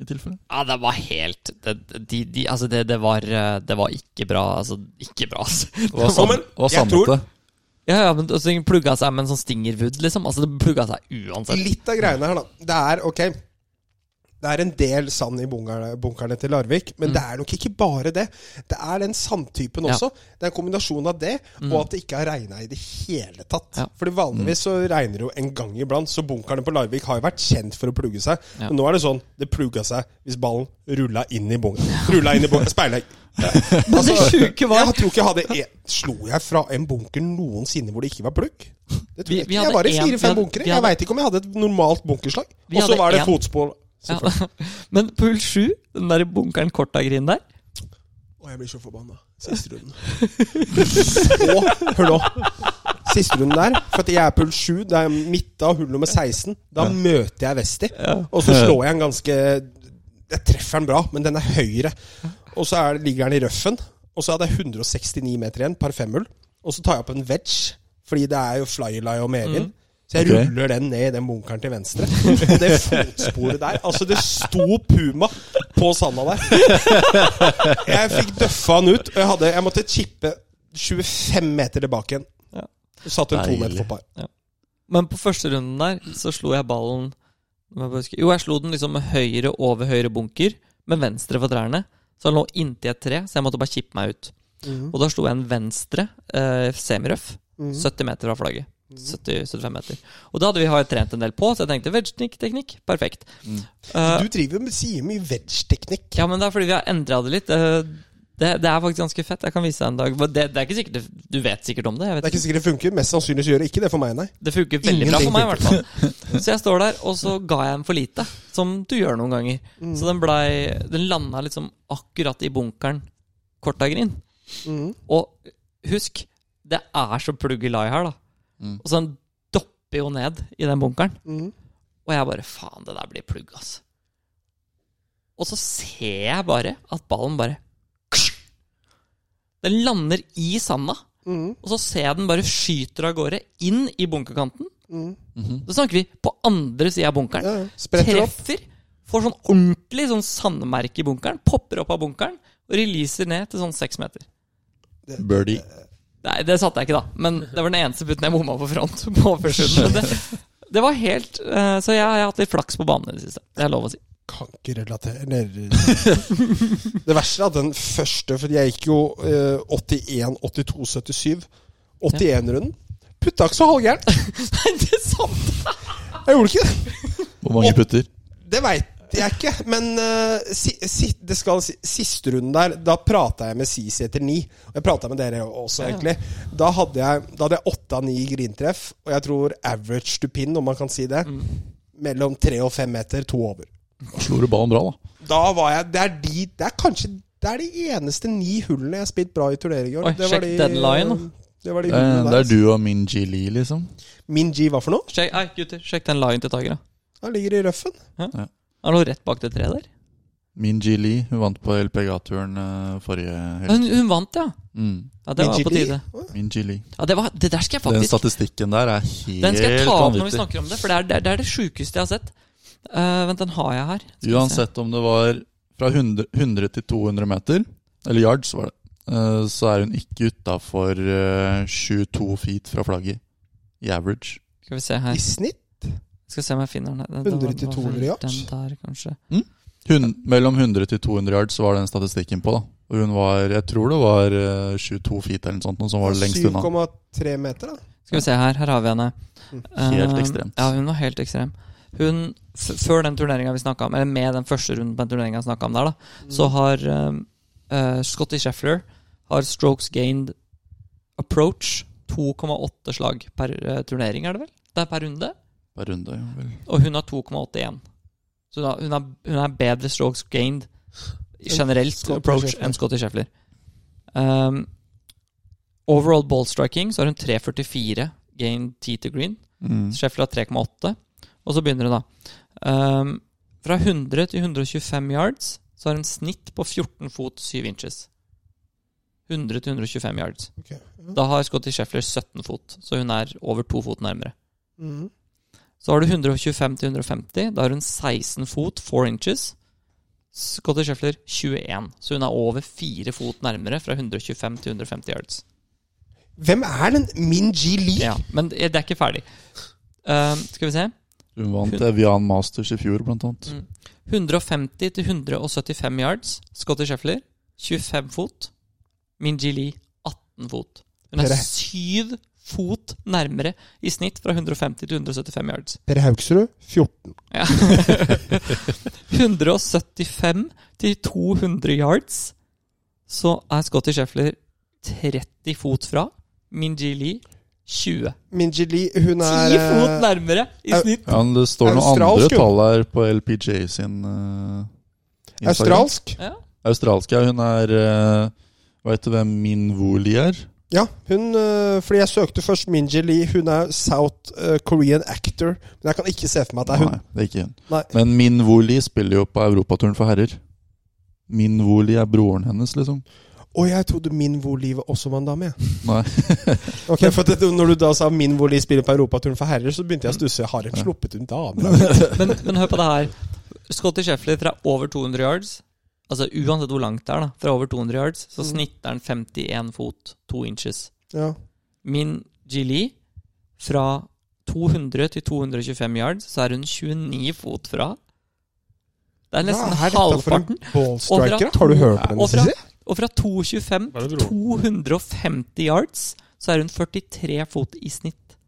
D: I tilfelle.
C: Ja, det var helt det, de, de, Altså, det, det, var, eh, det var ikke bra. Altså, ikke bra, altså.
D: Hva
B: Ja, men jeg tror-
D: samlet det?
C: Ja, ja, men altså, den plugga seg med en sånn stingerwood, liksom. Altså, det plugga seg uansett.
B: Litt av greiene her, da. Det er ok Det er en del sand i bunkerne, bunkerne til Larvik, men det er nok ikke bare det. Det er den sandtypen
C: Mm. Ja. Mm.
B: også. Det er en kombinasjon av det, og at det ikke har regna i det hele tatt.
C: Ja. Mm.
B: Fordi vanligvis så regner det jo en gang iblant, så bunkerne på Larvik har jo vært kjent for å plugge seg.
C: Ja.
B: Men nå er det sånn det plugga seg hvis ballen rulla inn i bunkeren. Rulla inn i bunkeren. Speilegg.
C: Men det sjuke var
B: Jeg tror ikke jeg hadde en, Slo jeg fra en bunker noensinne hvor det ikke var plugg? Det tror
C: Vi-
B: jeg ikke.
C: vi
B: Jeg
C: hadde
B: var i
C: en- vi
B: fire-fem
C: hadde-
B: bunkere.
C: vi
B: Jeg
C: hadde-
B: veit ikke om jeg hadde et normalt bunkerslag.
C: Vi
B: Og så
C: hadde
B: var det
C: en-
B: fotspor.
C: Ja.
B: selvfølgelig.
C: Men på hull 7, den der bunkeren Korta-grinen der
B: Å, jeg blir så forbanna. Siste runden. Så, hør nå. Siste runden der, for at jeg er pull 7, det er midt av hull nummer 16. Da møter jeg Vesti, og så slår jeg en ganske Jeg treffer den bra, men den er høyre. Og så er, ligger den i røffen, og så hadde jeg 169 meter igjen, par femhull. Og så tar jeg opp en wedge, fordi det er jo flylie og medvind. Så jeg
D: Ok.
B: ruller den ned i den bunkeren til venstre. Og det fotsporet der Altså, det sto puma på sanda der. Jeg fikk døffa han ut, og jeg, hadde, jeg måtte chippe 25 meter tilbake igjen.
C: Ja.
B: Så Satt en to
D: Deilig.
B: meter for par.
C: Men på første runden der så slo jeg ballen må jeg bare huske- Jo, jeg slo den liksom med høyre over høyre bunker, med venstre for trærne. Så den lå inntil et tre, så jeg måtte bare kippe meg ut.
B: Mm.
C: Og da slo jeg en venstre eh, semirøff, 70 meter fra flagget. 70-75 meter. Og det hadde vi har trent en del på, så jeg tenkte vegteknikk, perfekt.
B: Mm.
C: Eh,
B: Du driver med sier mye wedge-teknikk.
C: Ja, men det er fordi vi har endra det litt. Eh, Det, det er faktisk ganske fett. Jeg kan vise deg en dag. Men Det, det er ikke sikkert, det- Du vet sikkert om det? Jeg vet
B: Det er ikke sikkert det funker. Mest sannsynlig så gjør det ikke det for meg, nei.
C: Det funker veldig bra
B: Ingenting
C: for meg, i hvert fall. Så jeg står der, og så ga jeg den for lite. Som du gjør noen ganger.
B: Mm.
C: Så den blei Den landa liksom akkurat i bunkeren Kortagrin.
B: Mm.
C: Og husk, det er så plugg i lai her, da. Og så den dopper jo ned i den bunkeren.
B: Mm.
C: Og jeg bare Faen, det der blir plugg, altså. Og så ser jeg bare at ballen bare Den lander i sanda.
B: Mm.
C: Og så ser jeg den bare skyter av gårde inn i bunkerkanten. Da snakker vi på andre sida av bunkeren.
B: Mm. Ja, ja. Spretter opp.
C: Treffer. Får sånn ordentlig sånn sandmerke i bunkeren. Popper opp av bunkeren og releaser ned til sånn seks meter.
D: Birdie.
C: Nei, det satte jeg ikke, da. Men det var den eneste putten jeg bomma på front. På første runden. Men det, det var helt eh, Så jeg har hatt litt flaks på banen i det siste. Det er lov å si.
B: Kan ikke relatere Det verste er at den første For jeg gikk jo eh, 81, 82, 77. 81-runden. Putta ikke så halvgærent.
C: Nei, det er sant!
B: Jeg gjorde ikke det.
D: Hvor mange putter?
B: Det veit jeg ikke. Men eh, si, si, det skal si, siste runden der, da prata jeg med Sisi etter ni. Og jeg prata med dere også, egentlig. Da hadde jeg, da hadde jeg åtte av ni grintreff, og jeg tror average to pin, om man kan si
C: Mm.
B: det, mellom tre og fem meter, to over.
D: Slo du ballen bra, da?
B: Da var jeg Det er de Det er kanskje Det er de eneste ni hullene jeg har spilt bra i turnering i år.
C: Oi,
B: det var
C: sjekk deadline.
B: Det var de
D: Eh, Det er,
B: hullene
D: det
B: der.
D: er du og min G. Lee, liksom.
B: Min G, hva for noe?
C: Sjekk, nei, gutter, sjekk den line til Tager, da.
B: Han ligger i røffen.
C: Han lå rett bak det treet der.
D: Min G. Lee, hun vant på LPGA-turen eh, forrige helg.
C: Hun, hun vant, ja.
D: Mm.
C: ja. Det var på
B: Midget
C: tide.
B: Lee.
D: Min G. Lee.
C: Ja, det, var, det der skal jeg
D: Den
C: faktisk
D: statistikken der er helt
C: Den skal jeg ta opp når vi
D: vanvittig.
C: snakker om det, for det er det, er- det, er det sjukeste jeg har sett. Eh, vent, den har jeg her. Skal vi se.
D: Uansett om det var fra 100, 100 til 200 meter, eller yards var det, eh, så er hun ikke utafor 22 feet fra flagget i average.
C: Skal vi se
D: Eh,
C: her.
B: I snitt.
C: Skal se om jeg finner den. den
B: 100 til
C: den var
B: 200
C: vel
B: yards.
C: Den der, kanskje.
D: Hun, mellom 100 til 200 yards var den statistikken på, da. Og hun var, jeg tror det var eh, 22 feet eller noe sånt, noe som var lengst unna.
B: 7,3 meter, da.
C: Skal vi se her. Her har vi henne.
D: Mm, Helt
C: Eh,
D: ekstremt.
C: Ja, hun var helt ekstrem. Hun, f før den turneringen vi snakket om, eller med den første runden på den turneringa vi snakka om der, da,
D: Mm.
C: så har um, eh, Scotty Scheffler har strokes gained approach 2,8 slag per eh, turnering, er det vel? Det er per runde.
D: Per runde, ja vel.
C: Og hun har 2,81. Så hun har, hun, har, hun har bedre strokes gained generelt
B: Scottie
C: approach
B: Scheffler.
C: enn Scotty Scheffler. Um, overall ball striking så har hun 3,44 gained tee to green.
D: Mm.
C: Scheffler har 3,8. Og så begynner hun, da. Ehm, fra 100 til 125 yards så har hun snitt på 14 fot 7 inches. 100 til 125 yards.
B: Ok. Ja.
C: Da har Scotty Scheffler 17 fot, så hun er over to fot nærmere.
B: Mhm.
C: Så har du 125 til 150, da har hun 16 fot 4 inches. Scotty Scheffler 21, så hun er over 4 fot nærmere fra 125 til 150 yards.
B: Hvem er den Min Ji Lee?
C: Ja, Men det er ikke ferdig. Ehm, skal vi se.
D: Hun vant Evian Masters i fjor, blant annet.
C: 150 til 175 yards. Scotty Scheffler 25 fot. Minji Lee 18 fot. Hun er
B: Dere-
C: syv fot nærmere i snitt fra 150 til 175 yards.
B: Per Haugsrud, 14.
C: Ja. 175 til 200 yards, så er Scotty Scheffler 30 fot fra. Minji Lee 20.
B: Min Ji Lee, hun
C: 10
B: er
C: fot
B: eh,
C: nærmere i
B: au.
C: snitt!
D: Ja, men Det står noen andre
B: Australsk, hun.
D: tall her på LPJ sin eh, Instagram.
B: australsk.
D: Australsk, ja. Hun er Veit du hvem Min Wooli er?
B: Ja, hun eh, Fordi jeg søkte først Min Ji Lee. Hun er South eh, Korean actor. Men jeg kan ikke se for meg at det er hun.
D: Nei, det er ikke hun.
B: Nei.
D: Men Min Wooli spiller jo på europaturen for herrer. Min Wooli er broren hennes, liksom.
B: Å, jeg trodde Min Woli også var en dame, jeg.
D: Nei.
B: Ok, for det, når du da sa Min Woli spiller på Europaturen for herrer, så begynte jeg å stusse. Har de sluppet hun damer?
C: Men, men hør på det her. Scotty Sheffler fra over 200 yards Altså Uansett hvor langt det er, da fra over 200 yards, så
B: Mm.
C: snitter han 51 fot, 2 inches.
B: Ja.
C: Min Gili fra 200 til 225 yards, så er hun 29 fot fra. Det er nesten
B: Hva er dette for en
C: halvparten.
B: ballstriker?
C: Og fra-
B: Har du hørt på
C: og
B: den?
C: fra-
B: Sissy?
C: Og fra 225
E: Hva er det
C: til
E: du
C: 250 yards, så er hun 44 fot i snitt.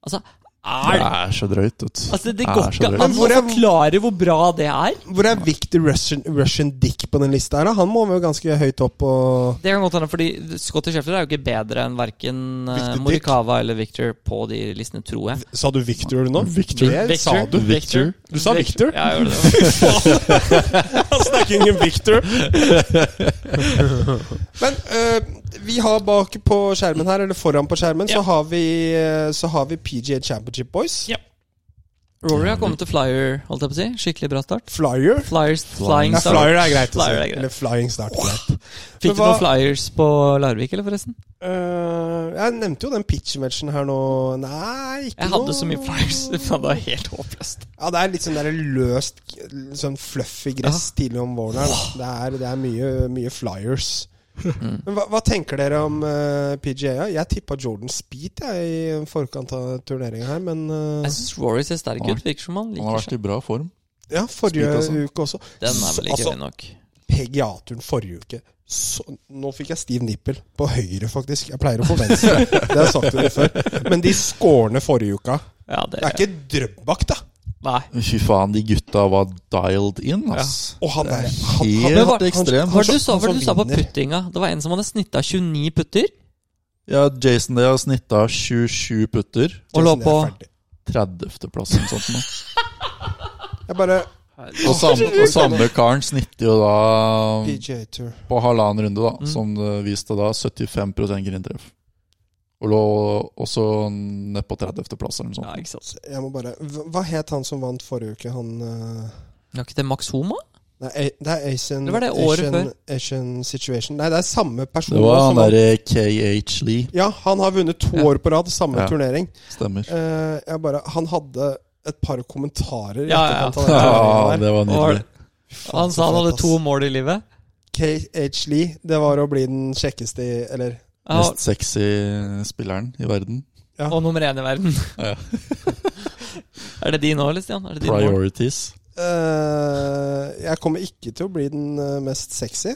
C: Altså,
D: Det
C: er det
D: er så drøyt, vet du.
C: Altså, det
D: er
C: går
D: så
C: ikke an
D: drøyt.
C: å
B: Men hvor er-
C: forklare hvor bra det er.
B: Hvor er Victor Russian, Russian Dick på den lista her? da? Han må vel ganske høyt opp og
C: Det kan godt hende, fordi Scotty Sheffler er jo ikke bedre enn verken
B: Victor Dick.
C: Morikawa eller Victor på de listene, tror jeg.
B: Sa du Victor nå?
D: Victor.
B: Det sa du.
D: Victor.
B: Du sa Victor.
C: Ja, jeg gjorde det.
B: Snakker om Victor. Men eh, vi har bak på skjermen her, eller foran på skjermen,
C: Ja.
B: så, har vi, eh, så har vi PGA Championship Boys.
C: Ja. Rory har kommet til Flyer, holdt jeg på å si. Skikkelig bra start.
B: Flyer.
C: Flyers Flying
B: Ja,
C: Start.
B: flyer er greit å si.
C: Flyer er greit.
B: Eller flying start. Greit. Men
C: Fikk du noen
B: hva-
C: flyers på Larvik, eller forresten?
B: Eh, jeg nevnte jo den pitch-matchen her nå Nei, ikke
C: Jeg
B: noe.
C: hadde så mye flyers. Det var helt håpløst.
B: Ja, det er litt sånn der løst, sånn fluffy gress tidlig om våren her. da. Det er, det er mye, mye flyers. Men hva, hva tenker dere om eh, PGA? ja? Jeg tippa Jordan Speed jeg, i forkant av turneringa her, men eh,
C: Jeg syns Rory ser sterk ut. Virker som han
D: Han har
C: liker
D: vært
C: seg.
D: i bra form.
B: ja, forrige
D: Speed også.
B: uke også.
C: Den er vel ikke
B: Altså,
C: høy nok.
B: PGA-turen forrige uke. Så, nå fikk jeg stiv nippel. På høyre, faktisk. Jeg pleier å få venstre. det har jeg sagt til dere før. Men de skårene forrige uka
C: Ja, det
B: Det er ikke Drøbak, da!
C: Nei.
D: Fy faen, de gutta var dialed in, ass.
B: Og han er han,
D: Helt
C: Men hva-
D: ekstrem.
C: Hva
B: Han
C: var det du sa,
B: som
C: hva var det du sa på
B: vinner.
C: puttinga? Det var en som hadde snitta 29 putter,
D: Ja, Jason Day har snitta 27 putter.
C: og lå
B: Jason, jeg er sånn
C: på
B: ferdig.
D: 30.-plass eller sånt noe.
B: Jeg bare
D: Og samme, og samme karen snitter jo da
B: PGA Tour.
D: på halvannen runde, da,
C: Mm.
D: som det viste da, 75 grindtreff. Og lå også ned på 30.-plass eller noe
C: Ja,
D: sånt.
C: ikke sant.
B: Jeg må bare Hva hva het han som vant forrige uke? Han eh,
C: Var ikke det Max Homa?
B: Nei, A- det er Asian,
C: Det var det året
B: Asian,
C: før.
B: Asian Situation. Nei, det er samme person.
D: Det var
B: som
D: han
B: vant.
D: derre KH Lee.
B: Ja, han har vunnet to
C: Ja.
B: år på rad, samme
D: Ja.
B: turnering.
D: Stemmer.
B: Eh, jeg bare Han hadde et par kommentarer. i
C: Ja, ja, ja.
B: etterkant av den
D: Ja,
B: turneringen der.
D: det var nydelig.
B: Faen,
C: Han sa
B: så
C: han
B: fett,
C: hadde
B: ass.
C: to mål i livet.
B: KH Lee, det var å bli den kjekkeste i Eller
C: Ja,
D: Mest sexy spilleren i verden.
C: og nummer én i verden.
D: Ja.
C: er det din nå, eller, Stian? Er det din nå?
D: Priorities.
B: eh, Jeg kommer ikke til å bli den eh, mest sexy.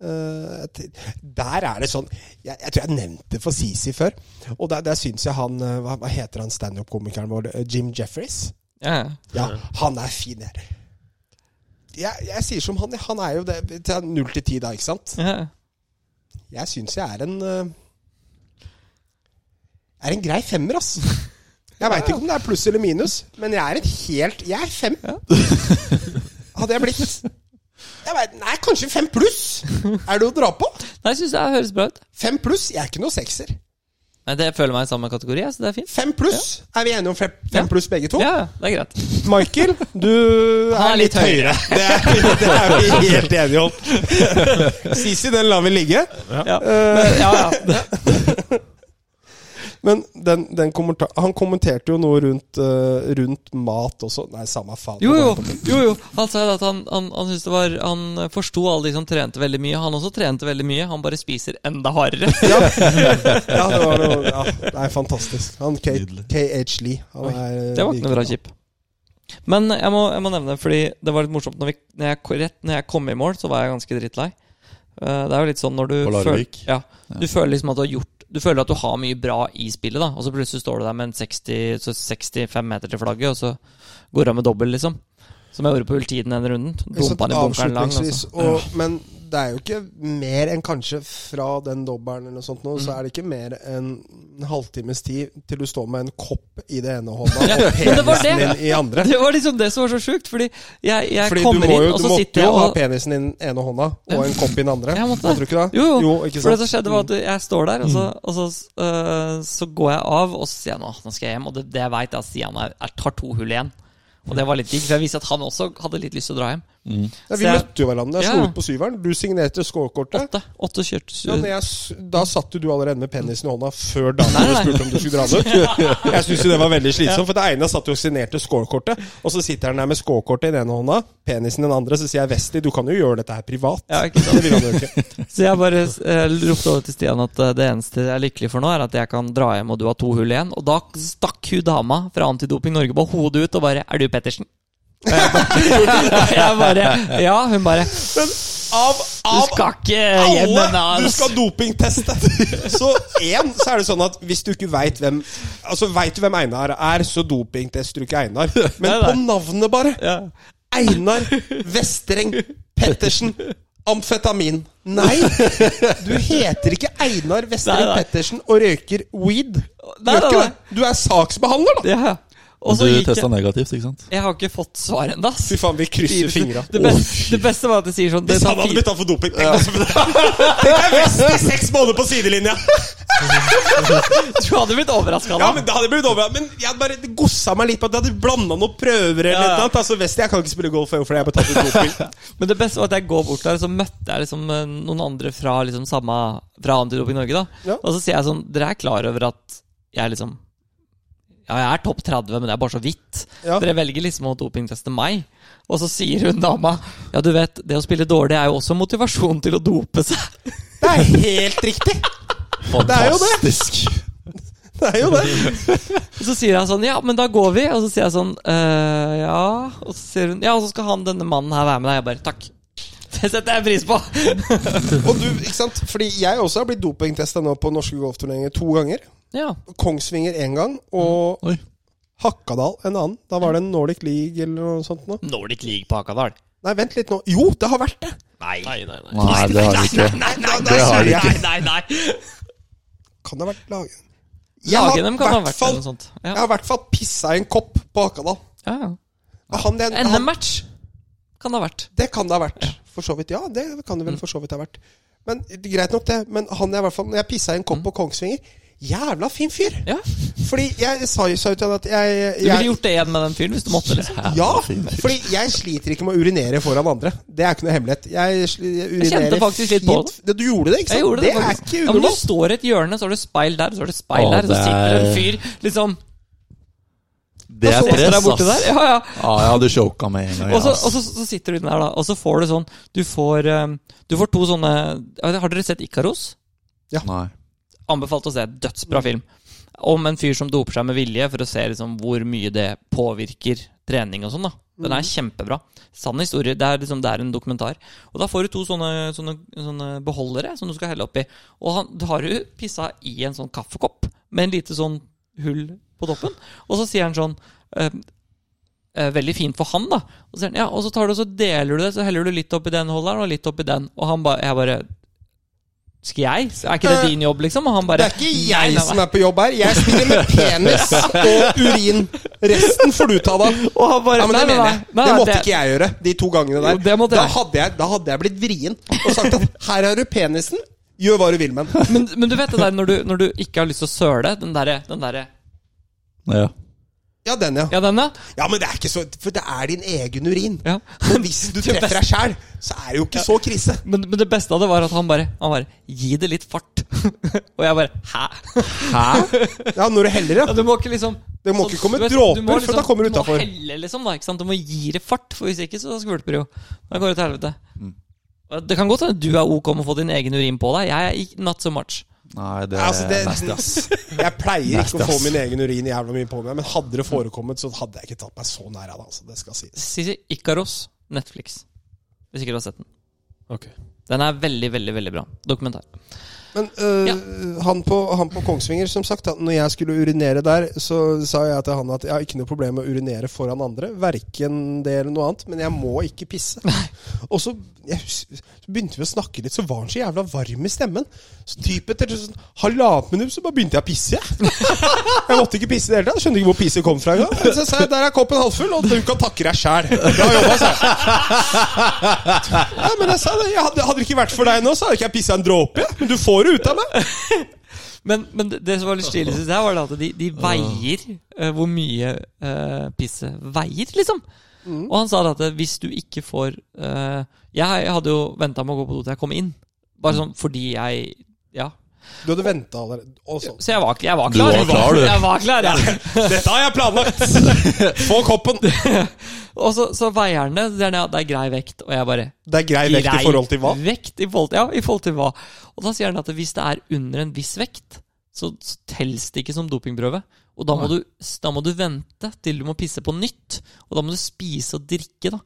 B: Eh, t- der er det sånn Jeg, jeg tror jeg nevnte det for Sisi før. Og der, der syns jeg han eh, Hva, hva heter han standup-komikeren vår? Eh, Jim Jeffries?
C: Ja, ja.
B: Ja, han er fin, jeg. Jeg, jeg sier som han. jeg. Han er jo det til null til ti, da, ikke sant?
C: ja. ja.
B: Jeg syns jeg er en eh, Er en grei femmer, ass. Jeg veit ikke om det er pluss eller minus, men jeg er en helt Jeg er fem. Hadde jeg blitt jeg vet, Nei, kanskje fem pluss! Er det å dra på?
C: Nei, jeg syns det høres bra ut.
B: Fem pluss? Jeg er ikke noe sekser.
C: Nei, det føler meg i samme kategori, jeg, så det er fint.
B: Fem pluss? Er vi enige om fem,
C: Ja.
B: fem pluss, begge to?
C: Ja, ja, det er greit.
B: Michael, du
C: Han
B: er litt høyere. Det er, det er vi helt enige om. Sisi, den lar vi ligge.
C: Ja.
B: Eh,
C: Ja, ja.
B: Men den, den kommenta han kommenterte jo noe rundt, eh, rundt mat også. Nei, samme faen.
C: Jo, jo, jo, jo. Han sa jo at han, han, han syntes det var Han forsto alle de som trente veldig mye. Han også trente veldig mye. Han bare spiser enda hardere.
B: Ja, ja det var noe ja, Nei, fantastisk. Han K- KH Lee. Han er, eh,
C: Det var ikke
B: like-
C: noe bra chip. Men jeg må, jeg må nevne, fordi det var litt morsomt når, vi, når, jeg, rett, når jeg kom i mål, så var jeg ganske drittlei. Eh, Det er jo litt sånn når du
D: På Larvik?
C: føl- ja, Du føler liksom at du har gjort Du føler at du har mye bra i spillet, da og så plutselig står du der med en 60, så 65 meter til flagget, og så går du av med dobbel, liksom. Som jeg gjorde på Ultiden den runden.
B: Sånn
C: Dumpa den i bunkeren lang.
B: avslutningsvis,
C: Altså.
B: og, men det er jo ikke mer enn kanskje fra den dobbelen eller noe sånt nå,
C: Mm.
B: så er det ikke mer enn en halvtimes tid til du står med en kopp i det ene hånda
C: Ja,
B: og
C: men det var
B: penisen
C: det.
B: din i andre.
C: Det var liksom det som var så sjukt, fordi jeg, jeg
B: Fordi du,
C: kommer
B: må jo,
C: inn, og
B: du
C: så
B: måtte
C: sitter
B: jo
C: jeg
B: ha
C: og
B: penisen i den ene hånda og en kopp i den andre.
C: Jeg måtte
B: Tror du ikke det?
C: Jo, jo.
B: ikke
C: For
B: sant? Mm.
C: det som skjedde var at jeg står der, og så, og så, øh, så går jeg av, og så sier jeg nå, nå skal jeg hjem. Og det, det jeg veit, er at Stian er, er, tar to hull igjen. Og det var litt digg, for jeg visste at han også hadde litt lyst til å dra hjem.
B: Ja, vi
C: Så jeg-
B: møtte jo hverandre. Jeg slo
C: Ja.
B: ut på syveren. Du signerte scorekortet.
C: Åtte, åtte kjørt.
B: Ja, men jeg, s- da satt jo du allerede med penisen i hånda før damene
C: Nei, nei.
B: spurte om du skulle dra den ut. Jeg syns jo det var veldig slitsomt, for det ene satt jo og signerte scorekortet, og så sitter han der med scorekortet i den ene hånda, penisen i den andre, så sier jeg Vesti, du kan jo gjøre dette her privat.
C: Ja, ikke
B: Det vil han jo ikke.
C: Så jeg bare eh, ropte over til Stian at eh, det eneste jeg er lykkelig for nå, er at jeg kan dra hjem, og du har to hull igjen. Og da stakk hun dama fra Antidoping Norge på hodet ut og bare 'Er du Pettersen?' Og jeg bare, jeg bare Ja, hun bare 'Du
B: Av, av
C: skal ikke hjem altså.
B: alle
C: ennå,
B: du
C: ass.»
B: skal dopingteste! Så én, så er det sånn at hvis du ikke veit hvem Altså, veit du hvem Einar er, så dopingtester du ikke Einar. Men
C: Nei, nei.
B: på navnet, bare.
C: Ja.
B: Einar Vestreng Pettersen. Amfetamin. Nei, du heter ikke Einar Vestreng
C: Nei, nei.
B: Pettersen og røyker weed. Du,
C: Nei,
B: gjør ikke
C: nei,
B: det. du er saksbehandler, da!
C: Ja. Og så
D: Du
C: gikk Altså,
D: testa
C: jeg
D: negativt, ikke sant?
C: Jeg har ikke fått svar ennå, ass.
B: Fy faen, vi krysser fingra.
C: Det beste, det beste var at de sier sånn det
B: Hvis
C: tar
B: han hadde
C: fire-
B: blitt tatt for doping Tenk deg Vest i seks måneder på sidelinja!
C: Du hadde blitt overraska
B: Ja,
C: da.
B: Men det hadde blitt over Men jeg hadde bare gossa meg litt på at jeg hadde blanda noen prøver. eller
C: Ja, ja.
B: noe annet. Altså, Vest, jeg kan ikke spille golf, jeg, for jeg har bare tatt ut doping.
C: Men det beste var at jeg går bort der, og så møtte jeg liksom eh, noen andre fra liksom samme Fra Antidoping Norge, da.
B: Ja.
C: Og så sier jeg sånn Dere er klar over at jeg liksom Ja, jeg er topp 30, men det er bare så vidt.
B: Ja.
C: Dere velger liksom å dopingteste meg. Og så sier hun dama Ja, du vet, det å spille dårlig er jo også motivasjon til å dope seg.
B: Det er helt riktig! er jo det.
D: Fantastisk!
B: Det er jo det.
C: Og så sier jeg sånn, ja, men da går vi. Og så sier jeg sånn, «Eh, ja. Og så sier hun, ja, og så skal han, denne mannen her være med deg. Jeg bare, takk. Det setter jeg pris på.
B: Og du, ikke sant? Fordi jeg også har blitt dopingtesta nå på norske golfturneringer to ganger.
C: Ja,
B: Kongsvinger én gang, og
D: Oi.
B: Hakadal en annen. Da var det en Nordic League eller noe sånt nå.
C: Nordic League på Hakadal.
B: Nei, vent litt nå. Jo, det har vært det!
C: Nei. Nei,
D: Nei, det har vi ikke.
C: nei, nei,
D: Det har vi ikke.
C: nei, nei.
B: Kan det ha vært laget?
C: Lagenem kan ha
B: hvert
C: vært det,
B: fall-
C: eller noe sånt.
B: Jeg
C: Ja,
B: har i hvert fall pissa i en kopp på Hakadal.
C: ja. ja.
B: Og Han, den, han,
C: NM-match kan det ha vært.
B: det kan det ha vært. For så vidt. Ja, det kan det
C: Mm.
B: vel for så vidt ha vært. Men det er Greit nok, det. Men han jeg i hvert fall Når jeg pissa i en
C: Mm.
B: kopp på Kongsvinger Jævla fin fyr!
C: Ja.
B: Fordi jeg sa jo sa jo til han at jeg,
C: Du
B: jeg
C: ville gjort det igjen med den fyren hvis du måtte. liksom.
B: Ja,
D: Fin fyr.
B: fordi jeg sliter ikke med å urinere foran andre. Det er ikke noe hemmelighet. Jeg, sli- jeg urinerer
C: kjente faktisk litt på
B: fint. Du gjorde det, ikke sant?
C: Jeg gjorde det,
B: er
C: faktisk. Ja,
B: ikke
C: men du
B: unormalt.
C: står i et hjørne, så har du speil der, så har du speil
D: Å,
C: der, så
D: det
C: sitter det en
D: er-
C: fyr liksom
D: Det er
B: Og så-
C: etter deg
D: stress,
C: borte
D: ass.
C: der. Ja, ja.
D: Ja, jeg hadde choka med en gang.
C: Og så,
D: ass.
C: og så, så sitter du den der, da, og så får du sånn Du får, eh, du får to sånne Har dere sett Ikaros?
D: Nei.
C: Anbefalt å se.
B: Mm.
C: Dødsbra film. Om en fyr som doper seg med vilje for å se liksom hvor mye det påvirker trening og sånn. da Den
B: Mm.
C: er kjempebra. Sann historie. Det er, liksom, det er en dokumentar. Og da får du to sånne, sånne, sånne beholdere som du skal helle oppi. Og han, da har du pissa i en sånn kaffekopp med en lite sånn hull på toppen. Og så sier han sånn eh, eh, Veldig fint for han, da. Og så, sier han, ja, og så tar du og så deler du det, så heller du litt oppi den holderen og litt oppi den. Og han ba, jeg bare Skal jeg? Er ikke det din jobb, liksom? Og han
B: Det
C: bare
B: er ikke
C: Nei,
B: jeg
C: nei, nei.
B: som er på jobb her. Jeg spiller med penis og urin. Resten får du ta deg av.
C: Og han bare
B: Ja, men det
C: nei,
B: mener
C: nei,
B: jeg.
C: nei,
B: Det
C: nei,
B: måtte ikke jeg gjøre de to gangene
C: Jo,
B: der.
C: det måtte
B: da,
C: jeg.
B: hadde jeg, da hadde jeg blitt vrien og sagt at her har du penisen, gjør hva du vil med den.
C: Men, men du vet det der når du, når du ikke har lyst til å søle? Den derre den derre-
D: Ja.
B: Ja, den, ja.
C: Ja, denne?
B: Ja, men det er ikke så For det er din egen urin.
C: Ja.
B: Men hvis du treffer deg sjæl, så er det jo ikke så krise.
C: Men, men det beste av det var at han bare, han bare Gi det litt fart. og jeg bare Hæ?
B: Ja, når du heller,
C: Ja,
B: ja.
C: du må ikke liksom
B: Det må
C: sånn-
B: ikke komme
C: du vet,
B: dråper,
C: du må liksom-
B: for da kommer du utenfor.
C: Du må helle, liksom. da, ikke sant? Du må gi det fart, for hvis ikke så skvulper det jo. Da går det til helvete.
B: Mm.
C: Og Det kan godt hende du er ok om å få din egen urin på deg. Jeg er ikke not so much.
D: Nei, det
B: Ja, Altså, det,
D: Nei,
B: jeg pleier ikke å få
D: ass.
B: min egen urin jævla mye på meg, men hadde det forekommet, så hadde jeg ikke tatt meg så nær av det. Altså, det skal sies.
C: Sisi Ikaros, Netflix. Hvis ikke du har sett den.
E: Ok.
C: Den er veldig, veldig veldig bra. Dokumentar.
B: Men øh,
C: Ja.
B: han, på, han på Kongsvinger, som sagt, da når jeg skulle urinere der, så sa jeg til han at jeg har ikke noe problem med å urinere foran andre, verken det eller noe annet, men jeg må ikke pisse. Og så, jeg, hus- så begynte vi å snakke litt, så var han så jævla varm i stemmen. Så typ etter sånn halvannet minutt så bare begynte jeg å pisse, jeg. Jeg måtte ikke pisse i det hele tatt. Skjønte ikke hvor pisset kom fra engang. Men Så sa jeg der er koppen halvfull, og du kan takke deg sjæl. Bra jobba, sa jeg. Ja, men jeg sa det. Jeg hadde, hadde det ikke vært for deg nå, så hadde ikke jeg pissa en dråpe. jeg. Men du får det ut av meg.
C: Men, men det- det som var litt stilig, synes jeg, var det at de, de veier eh, hvor mye uh, pisset veier, liksom. Og han sa det at eh, hvis du ikke får eh, Jeg hadde jo venta med å gå på do til jeg kom inn. Bare sånn fordi jeg Ja.
B: Du hadde venta allerede. Og sånn.
C: Så jeg var, jeg var
D: Du
C: klar.
D: var klar, du.
C: Jeg var klar, ja.
B: Dette har jeg planlagt! Få koppen!
C: Og så, så veier han det. så sier han, Ja, det er grei vekt. Og jeg bare
B: Det er grei vekt i
C: grei
B: forhold til hva?
C: Vekt i forhold, ja, i forhold til hva? Og da sier han at hvis det er under en viss vekt, så, så tels det ikke som dopingprøve. Og da må, du, da må du vente til du må pisse på nytt. Og da må du spise og drikke, da.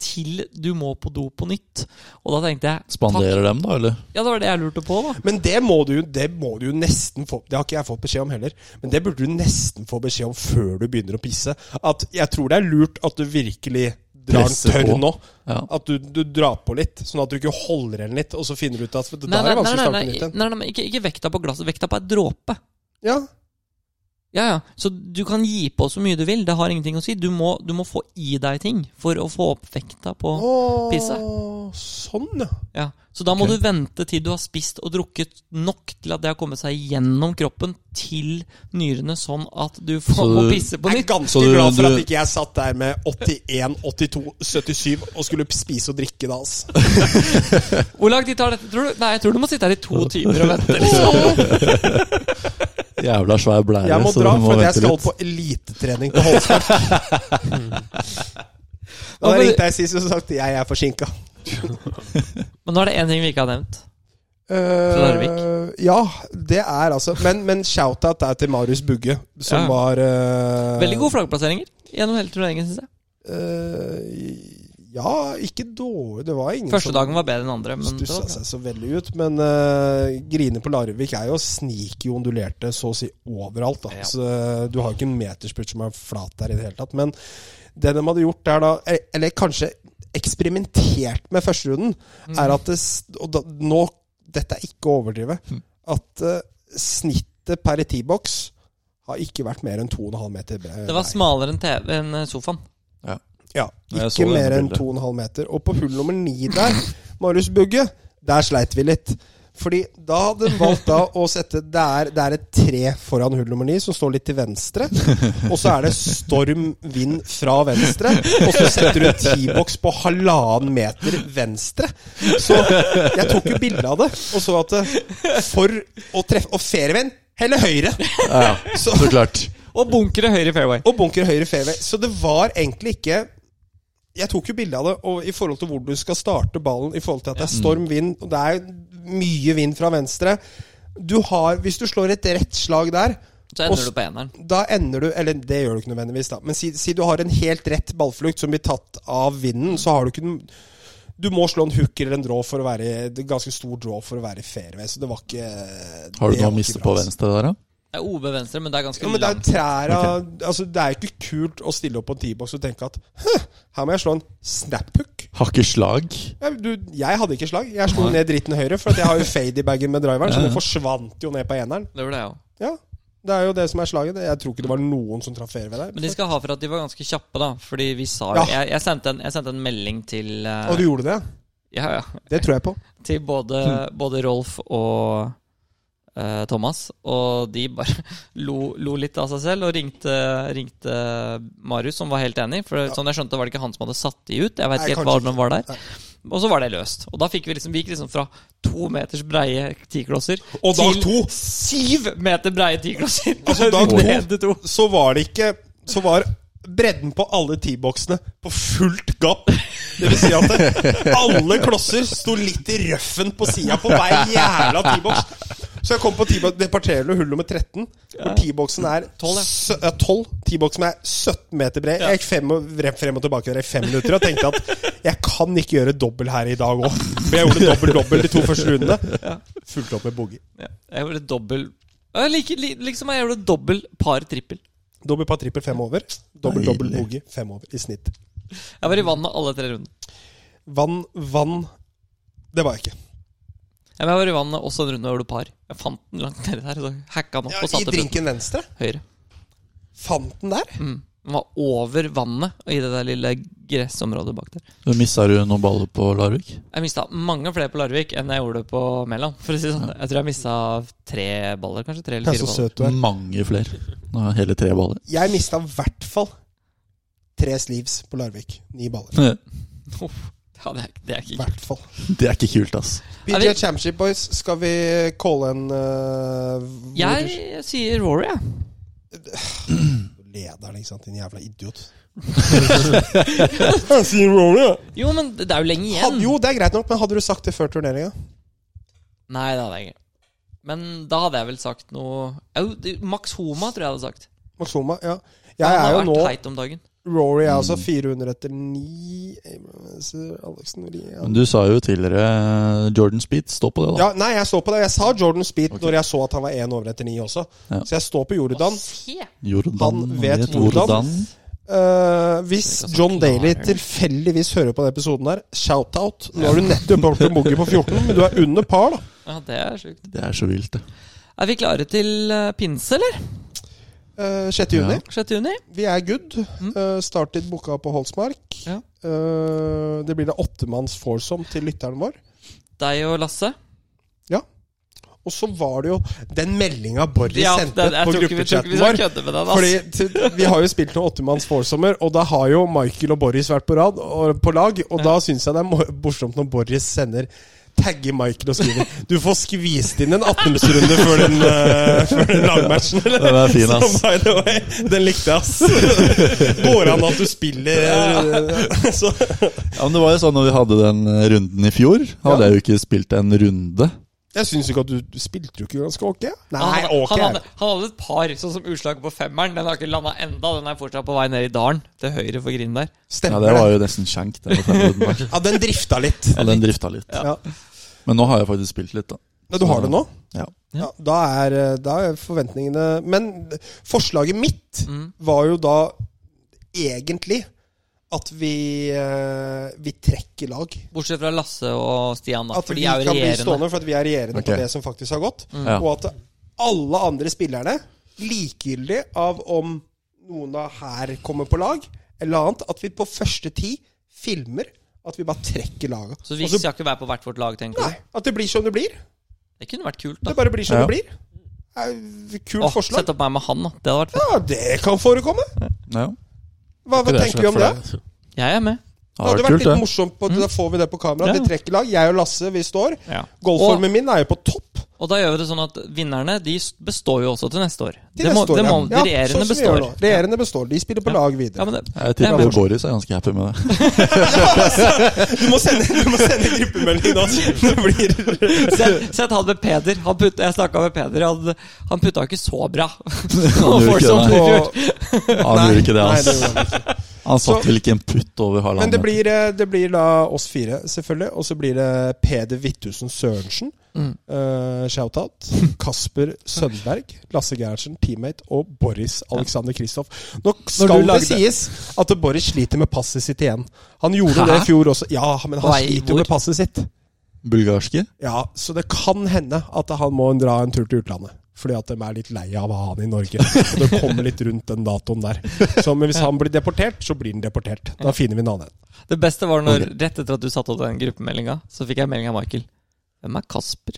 C: Til du må på do på nytt. Og da tenkte jeg takk.
D: Spanderer dem, da, eller?
C: Ja, det var det jeg lurte på, da.
B: Men det må, du, jo- det må du jo nesten få Det har ikke jeg fått beskjed om heller. Men det burde du nesten få beskjed om før du begynner å pisse. At jeg tror det er lurt at du virkelig drar
D: Presser
B: den tørr
D: på.
B: nå.
D: Ja.
B: At du, du drar på litt, sånn at du ikke holder den litt, og så finner du ut at det der
C: Nei,
B: er
C: nei, nei,
B: vanskelig å
C: nei,
B: starte
C: nei,
B: på nytt
C: nei,
B: igjen.
C: nei, nei, ikke, ikke vekta på glasset. Vekta på ei dråpe.
B: Ja.
C: Ja, ja. Så du kan gi på så mye du vil. Det har ingenting å si. Du må, du må få i deg ting for å få opp vekta på
B: Åh,
C: pisse.
B: Sånn, ja.
C: Ja, Så da må
D: Ok.
C: du vente til du har spist og drukket nok til at det har kommet seg gjennom kroppen til nyrene, sånn at du får
D: Så
C: må
D: du-
C: pisse på
B: Jeg er
C: nytt.
B: ganske
D: Så du-
B: glad for
D: du-
B: at ikke jeg satt der med 81, 82, 77 og skulle spise og drikke da, altså.
C: Hvor lang tid tar dette, tror du? Nei, jeg tror du må sitte her i to timer og vente. Liksom.
D: Jævla svær blære.
B: Jeg må
D: så
B: dra
D: du
B: for at jeg
D: vente
B: skal
D: litt.
B: på elitetrening på Holsmark. Da ringte jeg sist og sa at jeg er forsinka.
C: Men nå er det én ting vi ikke har nevnt. Larvik?
B: Eh, ja, det er altså Men, men shout-out er til Marius Bugge, som
C: Ja.
B: var eh,
C: Veldig gode flaggplasseringer gjennom hele turneringen, syns jeg.
B: eh, ja, ikke dårlig. Det var ingen
C: Første dagen var bedre enn andre. Men det
B: stussa
C: var bra.
B: seg så veldig ut. Men uh, Grine på Larvik er jo sniky ondulerte så å si overalt. Da.
C: Ja.
B: Så, eh, du har jo ikke en meterspurt som er flat der i det hele tatt. Men det de hadde gjort der da, eller- eller kanskje eksperimentert med førsterunden,
C: Mm.
B: er at det, s- Og da, nå Dette er ikke å overdrive.
C: Hm.
B: At eh, snittet per T-boks har ikke vært mer enn 2,5 meter. eh, bre-
C: det var
B: brei.
C: smalere enn TV enn eh, sofaen.
B: Ja,
D: Jeg
B: ikke
D: så det
B: mer enn
D: bildet.
B: 2,5 meter. Og på hull nummer 9 der, Marius Bugge, der sleit vi litt. Fordi da hadde de valgt da å sette det er, det er et tre foran hull nummer 9 som står litt til venstre. Og så er det storm vind fra venstre. Og så setter du en T-boks på halvannen meter venstre. Så jeg tok jo bilde av det og så at det- for å treffe Og fairwayen heller høyre.
D: Ja,
B: Så
D: så klart.
C: Og bunkere høyre fairway.
B: og bunker høyre fairway. Så det var egentlig ikke Jeg tok jo bilde av det, og i forhold til hvor du skal starte ballen, i forhold til at det er storm, vind, og det er mye vind fra venstre Du har Hvis du slår et rett slag der,
C: Så
B: Og s-
C: ender du på eneren.
B: Da ender du Eller det gjør du ikke nødvendigvis, da. Men si, si du har en helt rett ballflukt som blir tatt av vinden, så har du ikke den Du må slå en hook eller en draw for å være det er ganske stor draw for å være i fairway, så det var ikke
D: Har du
B: det
D: noe
B: var
D: å miste
B: ikke bra,
D: på
B: altså.
D: venstre der, da?
C: Det er OB venstre, men det er ganske
B: Ja, men det er
C: langt.
B: jo træra altså, Det er jo ikke kult å stille opp på en T-box og tenke at «Hø, her må jeg slå en snap-hook.
D: Har ikke slag.
B: Ja, du, jeg hadde ikke slag. Jeg slo ned dritten høyre, for at jeg har jo fade i bagen med driveren, så den forsvant jo ned på eneren.
C: Det var det, jeg også.
B: Ja, det er jo det som er slaget. Jeg tror ikke det var noen som traff fairway der.
C: Men de skal ha for at de var ganske kjappe, da. Fordi vi sa jo
B: Ja.
C: jeg, jeg, sendte en, jeg sendte en melding til eh,
B: Og du gjorde det?
C: ja, ja,
B: Det tror jeg på.
C: Til både,
B: Mm.
C: både Rolf og eh, Thomas. Og de bare lo, lo litt av seg selv og ringte, ringte Marius, som var helt enig. For sånn jeg skjønte, var det ikke han som hadde satt de ut. Jeg vet
B: Nei,
C: ikke helt
B: kanskje
C: hva som var
B: Nei.
C: der. Og så var det løst. Og da fikk vi liksom, vi gikk liksom fra to meters breie tiklosser
B: Og dag
C: til
B: to,
C: syv meter breie tiklosser!
B: Altså, dag to-
C: Ned til to.
B: så var det ikke Så var bredden på alle T-boksene på fullt gap. Det vil si at det, alle klosser sto litt i røffen på sida på hver jævla T-boks. Så jeg kom på T-boks Det parterer du hull nummer 13, hvor T-boksen er 12.
C: ja.
B: Ja, 12 T-boksen er 17 meter bred. Jeg gikk fem og, vrem- frem og tilbake der i fem minutter og tenkte at jeg kan ikke gjøre dobbel her i dag òg. For jeg gjorde dobbel-dobbel de to første rundene. Fulgte opp med boogie.
C: Ja, jeg gjorde dobbel Ja, like, li, Liksom jeg gjorde dobbel par trippel.
B: Dobbel par trippel fem over. Dobbel-dobbel
D: Deilig.
B: boogie fem over i snitt.
C: Jeg var i vannet alle tre rundene.
B: Vann, vann Det var jeg ikke.
C: Ja, men jeg var i vannet også en runde hvor det var par. Jeg fant den langt nedi der. Så hacka den opp og
B: I
C: satte den
B: drinken venstre?
C: høyre.
B: Fant den der?
C: Mm. Den var over vannet og i det der lille gressområdet bak der.
D: Missa du noen baller på Larvik?
C: Jeg mista mange flere på Larvik enn jeg gjorde på Mæland. For å si det sånn. Jeg tror jeg mista tre baller, kanskje. Tre eller
B: Tenk
C: fire
B: så
C: baller.
B: søt du er.
D: Mange flere. Nå er Hele tre baller.
B: Jeg mista i hvert fall tre sleeves på Larvik. Ni baller.
C: Ja, det, er, det er
B: I
C: ikke
B: hvert fall.
D: Det er ikke kult, ass.
B: PGA Championship Boys, skal vi calle en uh, hvor-
C: Jeg, jeg sier Rory, jeg.
B: Lederen, ikke sant. Din jævla idiot. Jeg sier Rory, ja.
C: Jo, men det er jo lenge igjen.
B: Hadde- Jo, det er greit nok, men hadde du sagt det før turneringa?
C: Nei, det hadde jeg ikke. Men da hadde jeg vel sagt noe Au, det- Max Homa, tror jeg hadde sagt.
B: Maxoma, ja. Jeg
C: Han
B: er
C: har
B: jo
C: vært
B: nå
C: heit om dagen.
B: Rory er altså 400 etter 9 Alexen Ria
D: Men du sa jo tidligere eh, Jordan Speed. Stå på det, da.
B: Ja, nei, jeg står på det. Jeg sa Jordan Speed når jeg så at han var én over etter ni også.
D: Ja.
B: Så jeg står på Jordan.
C: Se!
D: Jordan,
B: Han vet hvordan. Eh, hvis
C: Det er ikke så
B: John Daly
C: klar.
B: tilfeldigvis hører på den episoden der, shout-out. Nå har du nettopp vært på boogie på 14, men du er under par, da.
C: Ja, det er sjukt.
D: Det er så vilt, det.
C: Er vi klare til eh, pinse, eller?
B: Eh, 6. juni.
D: Ja.
C: 6. juni?
B: Vi er good. Eh, started booka på Holsmark.
C: Mm. Ja.
B: Eh, det blir da åttemanns foursome til lytteren vår.
C: Deg og Lasse?
B: Og så var det jo den meldinga Borry
C: Ja, det,
B: sendte
C: jeg
B: på
C: tror ikke vi, tror ikke
B: gruppechatten
C: vi
B: vår.
C: skal kødde med den.
B: Fordi
C: Altså.
B: t- Vi har jo spilt noen åttemanns foursommer, og da har jo Michael og Boris vært på, rad, og, på lag. Og da syns jeg det er mo- morsomt når Boris sender tagger Michael og skriver Du får skvist inn en 18-runde før den, eh, før den lagmatchen, eller?
D: Den er fin, ass.
B: Så by the way, den likte jeg, ass. Går an at du spiller eh, så.
D: Ja, men det var jo sånn når vi hadde den eh, runden i fjor. Hadde
B: Ja.
D: jeg jo ikke spilt en runde.
B: Jeg syns ikke at du, du spilte jo ikke ganske ok.
C: Han,
B: Nei,
C: hadde-
B: ok.
C: han, hadde, han hadde et par, sånn som utslaget på femmeren. Den har ikke landa enda. Den er fortsatt på vei ned i dalen, til høyre for grinden der.
D: Ja,
B: Stemmer
D: Det var
B: det.
D: jo nesten skjenk. Den, runden der.
B: Ja, den drifta litt.
D: ja, den drifta litt.
B: Ja.
D: Men nå har jeg faktisk spilt litt, da.
B: Ja, du har det nå?
D: Ja.
B: Ja, da, er, eh, da er forventningene Men forslaget mitt
C: Mm.
B: var jo da egentlig at vi, eh, vi trekker lag.
C: Bortsett fra Lasse og Stian, da.
B: At
C: for
B: vi
C: de er jo
B: kan bli
C: regjerende. Mm.
B: stående for at vi er regjerende
D: Ok.
B: på det som faktisk har gått.
D: Ja.
B: Og at alle andre spillerne, likegyldig av om noen da her kommer på lag eller annet, at vi på første ti filmer at vi bare trekker laga.
C: Så vi
B: Og så-
C: skal ikke være på hvert vårt lag, tenker
B: Nei,
C: du?
B: at det blir som det blir.
C: Det kunne vært kult,
B: Det
C: da.
B: bare blir som
D: Ja.
B: det blir. Det er et Kult
C: Åh,
B: forslag.
C: sett opp meg med han, da. Det hadde vært fett.
B: Ja, det kan forekomme.
D: Ja.
B: Hva, hva tenker vi om det?
C: Jeg er med.
D: Det
B: Det hadde
D: har
B: vært
D: vært
B: litt
D: kult,
B: morsomt, på, da får vi det på kamera.
C: Mm. Ja.
B: Vi trekker lag. Jeg og Lasse, vi står.
C: Ja.
B: Golfformen min er jo på topp.
C: Og da gjør vi det sånn at vinnerne de består jo også til neste år.
B: Til
C: det må,
B: neste år,
C: det må,
B: ja. Ja,
C: De regjerende
B: sånn som vi gjør
C: består.
B: nå. Regjerende består. De spiller på
C: Ja.
B: lag
C: Ja,
B: videre.
C: men det,
D: Jeg
C: Ja,
D: tipper
C: men-
D: Boris er ganske happy med det.
B: Du må sende, du må sende gruppemelding nå. Det blir
C: Sett, sett han med Peder. Han putt, jeg snakka med Peder. Han, han putta ikke så bra.
D: Han gjorde
C: folk
D: ikke
C: som
D: det.
C: blir fjort.
D: Han gjorde ikke det,
B: sånn Nei, det
D: altså.
B: gjorde han ikke.
D: Han
B: Så-
D: satt vel ikke en putt over
B: Men
D: halvannen
B: det blir, eh, det blir da oss fire, selvfølgelig. Og så blir det Peder Hvithusen Sørensen.
C: Mm.
B: eh, Shoutout. Kasper Sønberg. Lasse Gerhardsen, teammate. Og Boris Alexander Kristoff. Nå skal det
C: lagde-
B: sies at Boris sliter med passet sitt igjen. Han gjorde det i
C: Hæ?
B: fjor også. Ja, men han
C: Nei,
B: sliter jo
C: hvor?
B: med passet sitt.
D: Bulgarske?
B: Ja, Så det kan hende at han må dra en tur til utlandet. Fordi at de er litt lei av å ha han i Norge. Og det kommer litt rundt den datoen der. Så, men hvis han blir deportert, så blir han deportert. Da finner vi en annen.
C: Det beste var når rett etter at du satte opp den gruppemeldinga, så fikk jeg melding av Michael. Hvem er Kasper?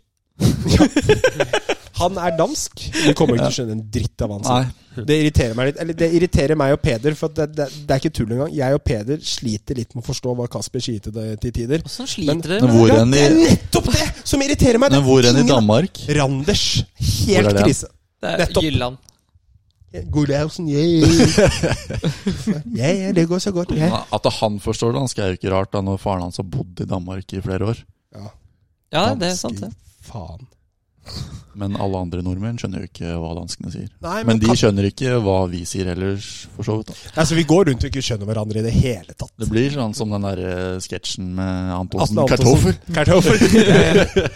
B: Han er dansk. Du kommer ikke til å skjønne en dritt av han
D: Nei.
B: sier. Det irriterer meg litt Eller det irriterer meg og Peder, for at det, det, det er ikke tull engang. Jeg og Peder sliter litt med å forstå hva Kasper sier til, det- til tider.
C: Åssen
B: Men-
C: sliter
D: Men
C: dere?
D: hvor
B: Ja,
D: enn
B: det
D: i,
B: er nettopp det som irriterer meg! Det
D: men
B: er
D: hvor enn i
B: ingen-
D: Danmark?
B: Randers.
D: Hvor
B: Helt
D: er det?
B: krise.
C: Det er
B: nettopp.
C: Gylland.
B: Godhausen, yeah. yeah, det går så godt. Yeah.
D: At han forstår dansk er jo ikke rart, da når faren hans har bodd i Danmark i flere år.
C: Ja, det er sant, det.
B: Faen.
D: Men alle andre nordmenn skjønner jo ikke hva danskene sier.
B: Nei, men,
D: Men de
B: kan-
D: skjønner ikke hva vi sier ellers, for så vidt. da.
B: altså, vi går rundt og ikke skjønner hverandre i det hele tatt.
D: Det blir sånn som den derre sketsjen med Antonsen.
B: Atle Antonsen.
D: Kartoffer.
B: Kartoffer.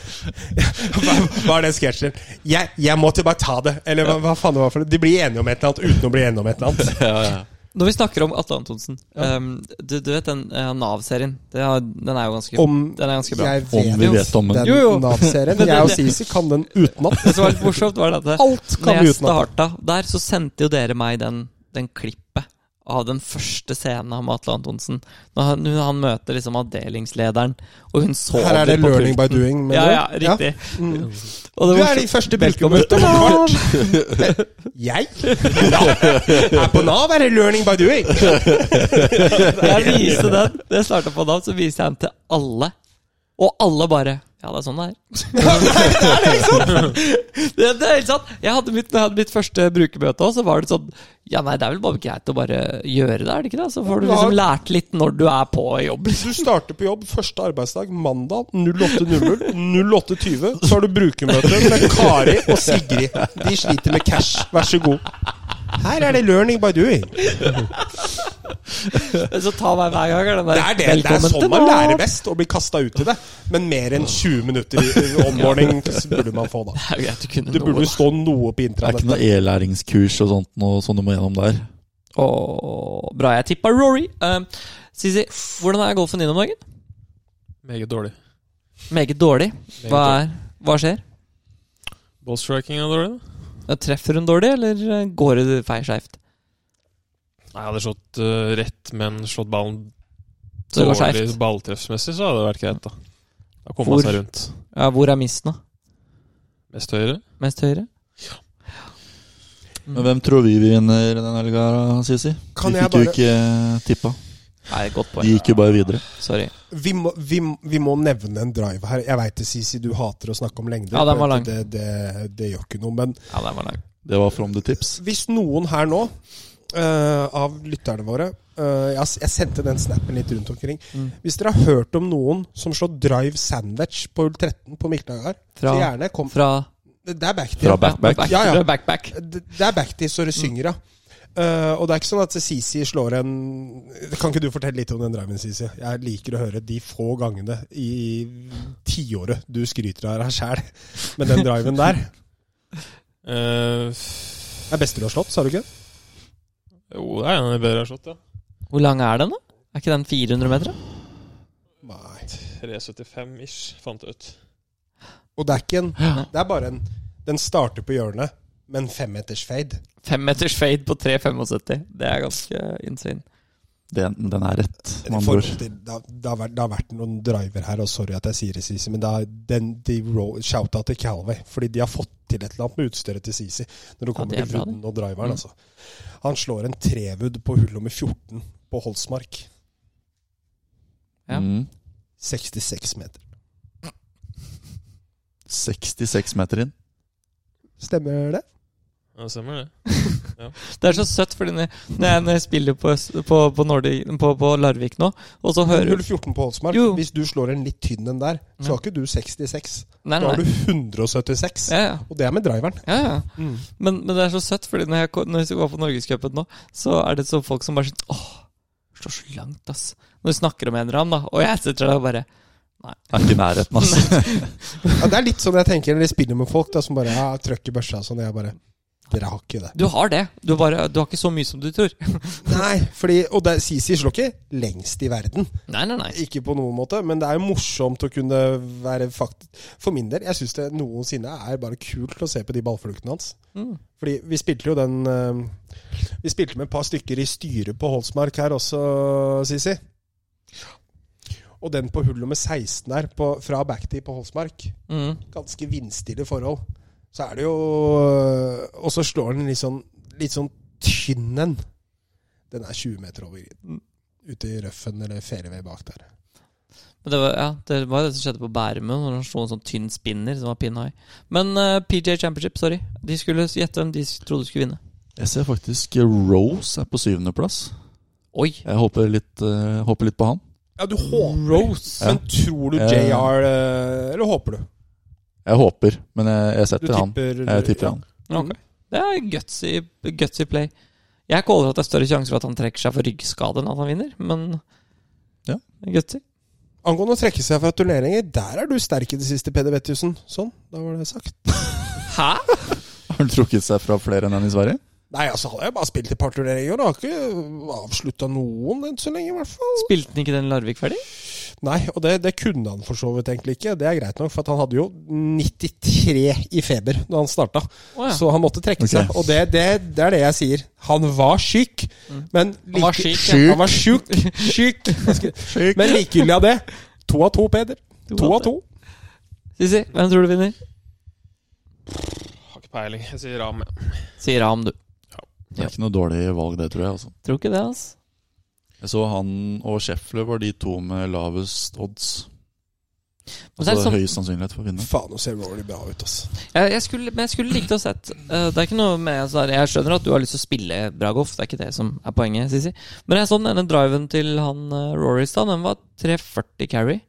B: hva, hva er den sketsjen? Jeg, jeg måtte bare ta det. Eller hva, hva faen det var for noe? De blir enige om et eller annet uten å bli enige om et eller annet.
C: Når vi snakker om Atle Antonsen ehm, du, du vet den eh, Nav-serien? Det har- Den er jo ganske
B: Om
C: Den er ganske bra.
B: jeg
D: Om vi vet om den.
B: den
C: Jo, jo.
B: Nav-serien.
C: Men det-
B: Jeg og
C: det-
B: Sisi kan den utenat.
C: Det som var litt morsomt, var det at det-
B: Alt
C: når
B: kan vi
C: jeg
B: utenat.
C: starta der, så sendte jo dere meg den, den klippet av den første scenen av Atle Antonsen. Når han, når han møter liksom avdelingslederen, og hun sover
B: Her er det
C: på
B: learning by
C: pulten.
B: doing. mener
C: Ja,
B: du?
C: ja, riktig.
B: Mm.
C: Og det
B: Du
C: var
B: er i første
C: Velkommen
B: belkomøte. Jeg? Ja. Her på Nav er det learning by doing.
C: Jeg viste den Da jeg startet på Nav, så viste jeg den til alle. Og alle bare Ja, det er sånn det er. det er helt sant! Jeg hadde mitt, når jeg hadde mitt første brukermøte òg, så var det sånn Ja, nei, det er vel bare greit å bare gjøre det, er det ikke det? Så får du liksom lært litt når du er på jobb. liksom.
B: Du starter på jobb første arbeidsdag mandag 08.00. 08.20 så har du brukermøte med Kari og Sigrid. De sliter med cash. Vær så god. Her er det learning by doing.
C: Så ta meg hver gang. er Den der,
B: Det er, det, det er
C: «Velkommen
B: sånn
C: til
B: man
C: Nav».
B: lærer best, å bli kasta ut i det. Men mer enn 20 minutter i onboarding burde man få, da.
C: Det er jo greit å kunne
B: Det burde
C: noe.
B: jo stå noe på
D: Det er ikke
B: intranettet.
D: noe e-læringskurs og sånt noe, som du må gjennom der.
C: Åh, bra jeg tippa Rory. Um, Sisi, hvordan er golfen din om dagen?
E: Meget dårlig.
C: Meget dårlig.
E: Meget
C: Hva,
E: dårlig.
C: er, hva skjer?
E: Ballstriking er dårlig, da?
C: Eh, Treffer hun dårlig, eller eh, går det feil skeivt?
E: Nei, jeg hadde slått eh, rett, men slått ballen
C: Så det går
E: dårlig
C: skeivt.
E: balltreffsmessig, så hadde det vært greit, da. Da kom
C: Hvor?
E: man seg rundt.
C: Ja, hvor er missen, da?
E: Mest høyre.
C: Mest høyre?
D: Men hvem tror vi vinner den helga, Sisi?
B: Mm. Kan
D: vi
B: jeg
D: fikk jo
B: bare-
D: ikke tippa.
C: Nei, godt
D: De
C: poeng.
D: gikk jo bare videre.
C: Sorry.
B: Vi må, vi, må- vi må nevne en drive her. Jeg veit det, Sisi, du hater å snakke om lengder.
C: Ja, den var lang.
B: Det, det, det gjør ikke noe. Men
C: Ja, den var lang.
D: Det var from the tips.
B: Hvis noen her nå, eh, av lytterne våre eh, jeg, jeg sendte den snappen litt rundt omkring.
C: Mm.
B: Hvis dere har hørt om noen som slår drive sandwich på hull 13 på Miklagard, så
C: Fra-
B: gjerne kom
C: Fra
B: Det det er backtee.
D: Fra back-back.
C: back,
B: Ja, ja.
C: fra back, back.
B: Det det er backtee så det synger, ja. Eh, og det er ikke sånn at Sisi slår en Kan ikke du fortelle litt om den driven, Sisi? Jeg liker å høre de få gangene i tiåret du skryter av deg sjæl. Men den driven der
E: Eh,
B: er beste du har slått, sa du ikke?
E: jo, det er en av de bedre jeg har slått, ja.
C: Hvor lang er den, da? Er ikke den 400 meter? da?
B: Nei.
E: 375-ish, fant jeg ut.
B: Og det er ikke en Det er bare en Den starter på hjørnet med en femmeters fade.
C: Femmeters fade på 3,75. Det er ganske insane.
D: Den, den er rett,
B: I
D: med andre
B: forhold
D: ord.
B: til- Det, har- det, har vært, det har vært noen driver her, og sorry at jeg sier det, Sisi, men det er den, de roll- shout-out til Calway. Fordi de har fått til et eller annet med utstyret til Sisi. Når det
C: Ja,
B: kommer
C: det er
B: til
C: bra,
B: wooden og driveren,
C: Mm.
B: altså. Han slår en trewood på hull nummer 14 på Holsmark.
C: Ja.
D: Mm.
B: 66 meter.
D: 66 meter inn.
B: Stemmer det?
E: Ja, stemmer det.
C: Det er så søtt, fordi når når jeg, når jeg spiller på, Øst- på, på, Nordi, på, på Larvik nå, og så hører
B: Hull 14 på Holsmark.
C: Jo. Mm.
B: Hvis du slår en litt tynn en der, så har ikke du 66.
C: Nei,
B: Da
C: nei,
B: har
C: nei.
B: du 176.
C: Ja, Mm. ja.
B: Og det er med driveren.
C: Ja, ja. Men, men det er så søtt, fordi når jeg, ko- når jeg var på Norgescupen nå, så er det så folk som bare sånn Åh, slår så langt, ass. Når du snakker om en eller annen, da. Og jeg sitter der og bare
D: Er ikke i nærheten, altså.
B: Ja, det er litt sånn jeg tenker når jeg spiller med folk da, som bare ja, trøkk i børsa og sånn. Jeg bare Dere har ikke det.
C: Du har det. Du, har bare, du har ikke så mye som du tror.
B: Nei, fordi, Og det- Sisi slår ikke lengst i verden.
C: Nei, nei, nei.
B: Ikke på noen måte, men det er jo morsomt å kunne være fakt... For min del, jeg syns det noensinne er bare kult å se på de ballfluktene hans.
C: Mm.
B: Fordi vi spilte jo den eh, Vi spilte med et par stykker i styret på Holsmark her også, Sisi. Og den på hull nummer 16 her, på, fra backtee på Holsmark.
C: Mm.
B: Ganske vindstille forhold. Så er det jo øh, Og så slår den litt sånn, litt sånn tynn en. Den er 20 meter over griden. Ute i røffen eller fairway bak der.
C: Men det var, ja, det var det som skjedde på Bærum, når han slo en sånn tynn spinner som var pin high. Men eh, PJ Championship, sorry. De skulle gjette hvem de s- trodde skulle vinne.
D: Jeg ser faktisk Rose er på syvendeplass.
C: Oi!
D: Jeg håper litt, eh, håper litt på han.
B: Ja, du håper
C: Rose!
D: Ja.
B: Men tror du
D: Eh.
B: JR eh, Eller håper du? øh,
D: Jeg håper, men jeg, jeg
B: Du
D: setter han. Jeg tipper han.
C: Ok. Det er gutsy, gutsy play. Jeg caller at det er større sjanse for at han trekker seg for ryggskade enn at han vinner, men
D: Ja.
C: gutsy.
B: Angående å trekke seg fra turneringer, der er du sterk i det siste, Peder Bettusen. Sånn, da var det sagt.
C: Hæ?
D: Har han trukket seg fra flere enn han i Sverige?
B: Nei, altså, han har jo bare spilt et par turneringer og har ikke avslutta noen enn så lenge, i hvert fall.
C: Spilte han ikke den Larvik ferdig?
B: Nei, og det, det kunne han for så vidt egentlig ikke. Det er greit nok, for at han hadde jo 93 i feber da han starta.
C: Å ja.
B: Så han måtte trekke
D: Ok.
B: seg. Og det, det, det er det jeg sier. Han var syk, men
C: Mm. Han var syk, ja.
B: Han var sjuk. Syk. Jeg skal-
D: Skyk.
B: Men likegyldig av det. To av to, Peder. To av to.
C: Sissi, hvem tror du vinner?
E: Har ikke peiling. Jeg sier Ram. ja.
C: Sier Ram, du.
D: Det er ikke noe dårlig valg, det, tror jeg. altså.
C: Tror ikke det, altså.
D: Jeg så han og Scheffler var de to med lavest odds.
C: Men så er
D: Altså
C: det sånn-
D: høyest sannsynlighet for å vinne.
B: Faen, nå ser Rory bra ut, altså. ass.
C: Jeg, jeg skulle, men jeg skulle likt å sett eh, Det er ikke noe med sånn her- Jeg skjønner at du har lyst til å spille bra golf, det er ikke det som er poenget, Sissi. Men jeg så denne driven til han eh, Rory i stad. Den var 340 carry.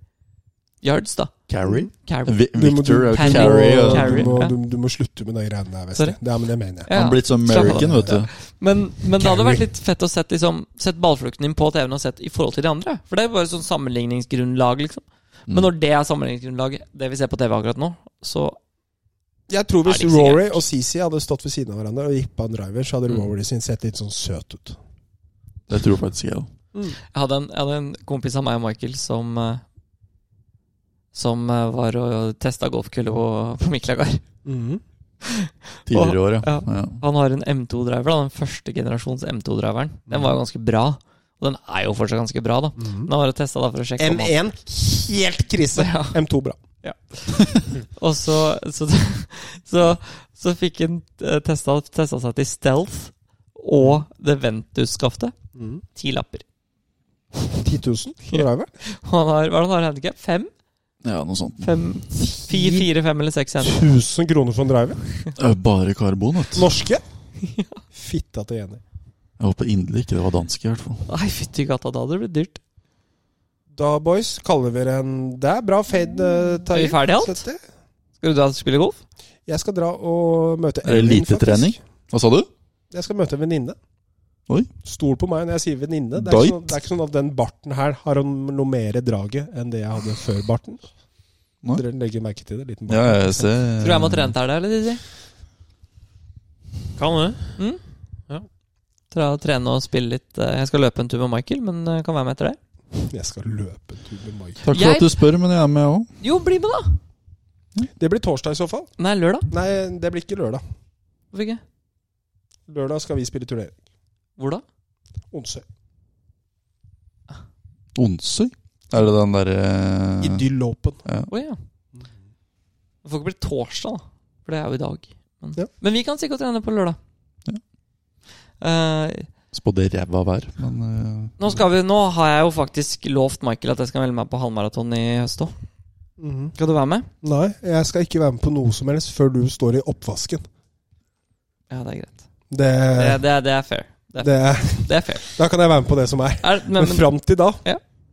C: Yards, da.
D: Carry?
C: Carry.
D: Vi,
B: må- du-
D: Victor og
C: Carry.
D: Carry.
B: Du må-
D: og-
C: Carry.
B: Du, må,
C: ja.
B: du, du må slutte med de greiene der,
C: Sorry.
B: Vestre. Det er men det mener jeg.
C: Ja.
D: Han blitt som
C: Slapp av.
D: American, vet du. Mm.
C: Men, men det hadde
B: Carry.
C: vært litt fett å sett, liksom, sett ballflukten din på TV-en og sett i forhold til de andre. For det er bare sånn sammenligningsgrunnlag, liksom. Men når det er sammenligningsgrunnlaget, det vi ser på TV akkurat nå, så
B: Jeg tror hvis
C: Er det ikke
B: Rory og Sisi hadde stått ved siden av hverandre og gikk på en driver, så hadde
C: Mm.
B: Rory sin sett litt sånn søt ut.
D: Det tror faktisk jeg òg.
C: Jeg hadde en, jeg hadde en kompis av meg og Michael som eh, Som eh, var og testa golfkølle på, på Miklagard. Mm.
B: Mm.
D: Tidligere i år, ja.
C: Ja.
D: ja.
C: Han har en M2-driver, da den første generasjons M2-driveren. Den var jo ganske bra. Og den er jo fortsatt ganske bra, da. Men han var og testa da for å sjekke om han-
B: M1 helt krise.
C: Ja.
B: M2 bra.
C: Og så, så, så, så fikk han eh, testa, testa seg til Stealth og det Ventus-skaftet.
B: Mm.
C: Ti lapper.
B: 10 000 på driver.
C: Og Han har, hva er det han har handikap? Fem?
D: ja, noe sånt.
C: Fem fi- fire, fem eller seks hender.
B: 1000 kroner for en driver?
D: Det er Eh, Bare karbon, vet du.
B: Norske? Fitta til enig.
D: Jeg håper inderlig ikke det var dansk, i hvert fall.
C: Nei, fytti gata, da hadde det blitt dyrt.
B: Da, boys, kaller vi det en Det er bra fade, eh, Terje.
C: Mm. Er vi ferdig alt?
B: Sette.
C: Skal du da spille golf?
B: Jeg skal dra og møte
D: Er det
B: Elin,
D: lite
B: faktisk.
D: trening? Hva sa du?
B: Jeg skal møte en venninne.
D: Oi.
B: Stol på meg når jeg sier venninne. Det, er ikke
D: Date.
B: sånn- det er ikke sånn at den barten her har noe mer draget enn det jeg hadde før barten.
D: Nei.
B: Dere legger merke til det? Liten bart.
D: Ja, jeg ser
C: Tror du jeg må trene til deg, eller, Didi?
E: Kan det.
C: Tror jeg må trene og spille litt eh, Jeg skal løpe en tur med Michael, men eh, kan være med etter deg.
B: Jeg skal løpe en tur med Mike.
D: Takk for
C: Jeg-
D: at du spør, men jeg er med òg.
C: Jo, bli med, da!
B: Det blir torsdag i så fall.
C: Nei, lørdag.
B: Nei, det blir ikke lørdag.
C: Hvorfor ikke?
B: Lørdag skal vi spille turnering.
C: Hvor da?
B: Onsøy.
D: Onsøy? Er det den eh, derre
B: Idyll Open.
C: Å ja. Det får ikke bli torsdag, da. For det er jo i dag. Men,
B: Ja.
C: men vi kan sikkert trene på lørdag.
D: Ja.
C: Eh,
D: Spådde ræva vær, men eh,
C: nå, skal vi, nå har jeg jo faktisk lovt Michael at jeg skal melde meg på halvmaraton i høst òg.
B: Mhm.
C: Skal du være med?
B: Nei, jeg skal ikke være med på noe som helst før du står i oppvasken.
C: Ja, det er greit.
B: Det,
C: Det, det, er- det er fair.
B: det,
C: Det er fair.
B: da kan jeg være med på det som er.
C: Er, men,
B: Men
C: men,
B: fram til da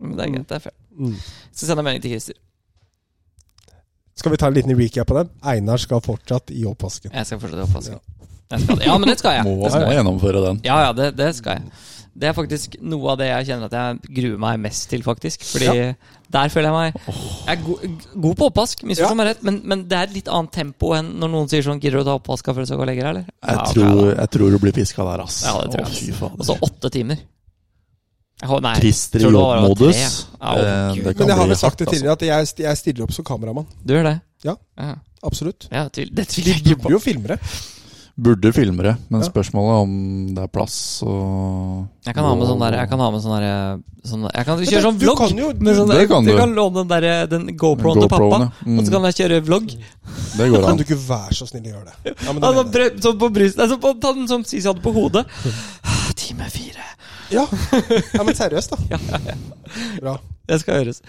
C: men det er greit. Det er fair.
B: mm.
C: Så sender jeg melding til Christer.
B: Skal vi ta en liten recap på den? Einar skal fortsatt i oppvasken.
C: Jeg skal fortsette oppvasken. Jeg skal det. Ja, men det skal jeg.
D: Må,
C: Det skal
D: må
C: jeg.
D: gjennomføre den.
C: Ja, ja, det, det skal jeg. Det er faktisk noe av det jeg kjenner at jeg gruer meg mest til, faktisk. Fordi der føler jeg meg Jeg er go god på oppvask, misforstå
B: Ja.
C: meg rett, men, men det er et litt annet tempo enn når noen sier sånn 'Gidder du å ta oppvaska før du skal gå og legge deg', eller?
D: Jeg,
C: Ja, ok,
D: tror,
C: da.
D: jeg tror du blir piska der, ass.
C: Ja, det tror jeg,
D: Å,
C: ass.
D: fy faen.
C: Og så åtte timer. Jeg hå- nei,
D: Christer i
C: tror det var
D: jobbmodus.
C: tre. Ja, å,
D: Eh,
C: Gud.
D: det kan
B: Men jeg har
D: bli
B: vel sagt det
D: hardt,
B: tidligere, at jeg, jeg stiller opp som kameramann.
C: du gjør det?
B: Ja.
C: ja.
B: Absolutt.
C: Ja, tvil, det
B: De
C: tviler jeg ikke
B: burde jo
C: på.
B: filmere.
D: Burde filmere, men
B: Ja.
D: spørsmålet om det er plass og
C: Jeg kan ha med sånn der Jeg kan ha med sånn der, sånn der Jeg kan kjøre sånn
B: Du
C: vlogg!
B: kan jo
C: Med sånn
D: Det
C: der,
D: kan
C: du
D: du.
C: kan låne den, der, den GoProen til pappa,
D: GoPro-ene. Mm,
C: og så kan jeg kjøre vlogg.
D: det går
B: Kan
D: an.
B: du ikke være så snill å gjøre det? Ja, men det
C: Altså,
B: mener jeg.
C: brø- sånn på brystet altså, på- Ta den som Sisi hadde på hodet. Ah, Time fire.
B: ja. ja, men seriøst, da. Bra.
C: Det skal gjøres.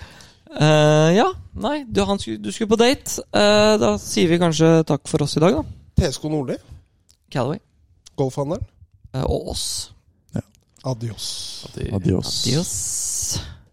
C: Eh, ja. Nei, du, han skulle, du skulle på date. Eh, da sier vi kanskje takk for oss i dag, da.
B: TSK Nordli,
C: Calaway.
B: golfhandelen.
C: Eh, og oss.
B: Adios.
D: Adios.
C: Adios.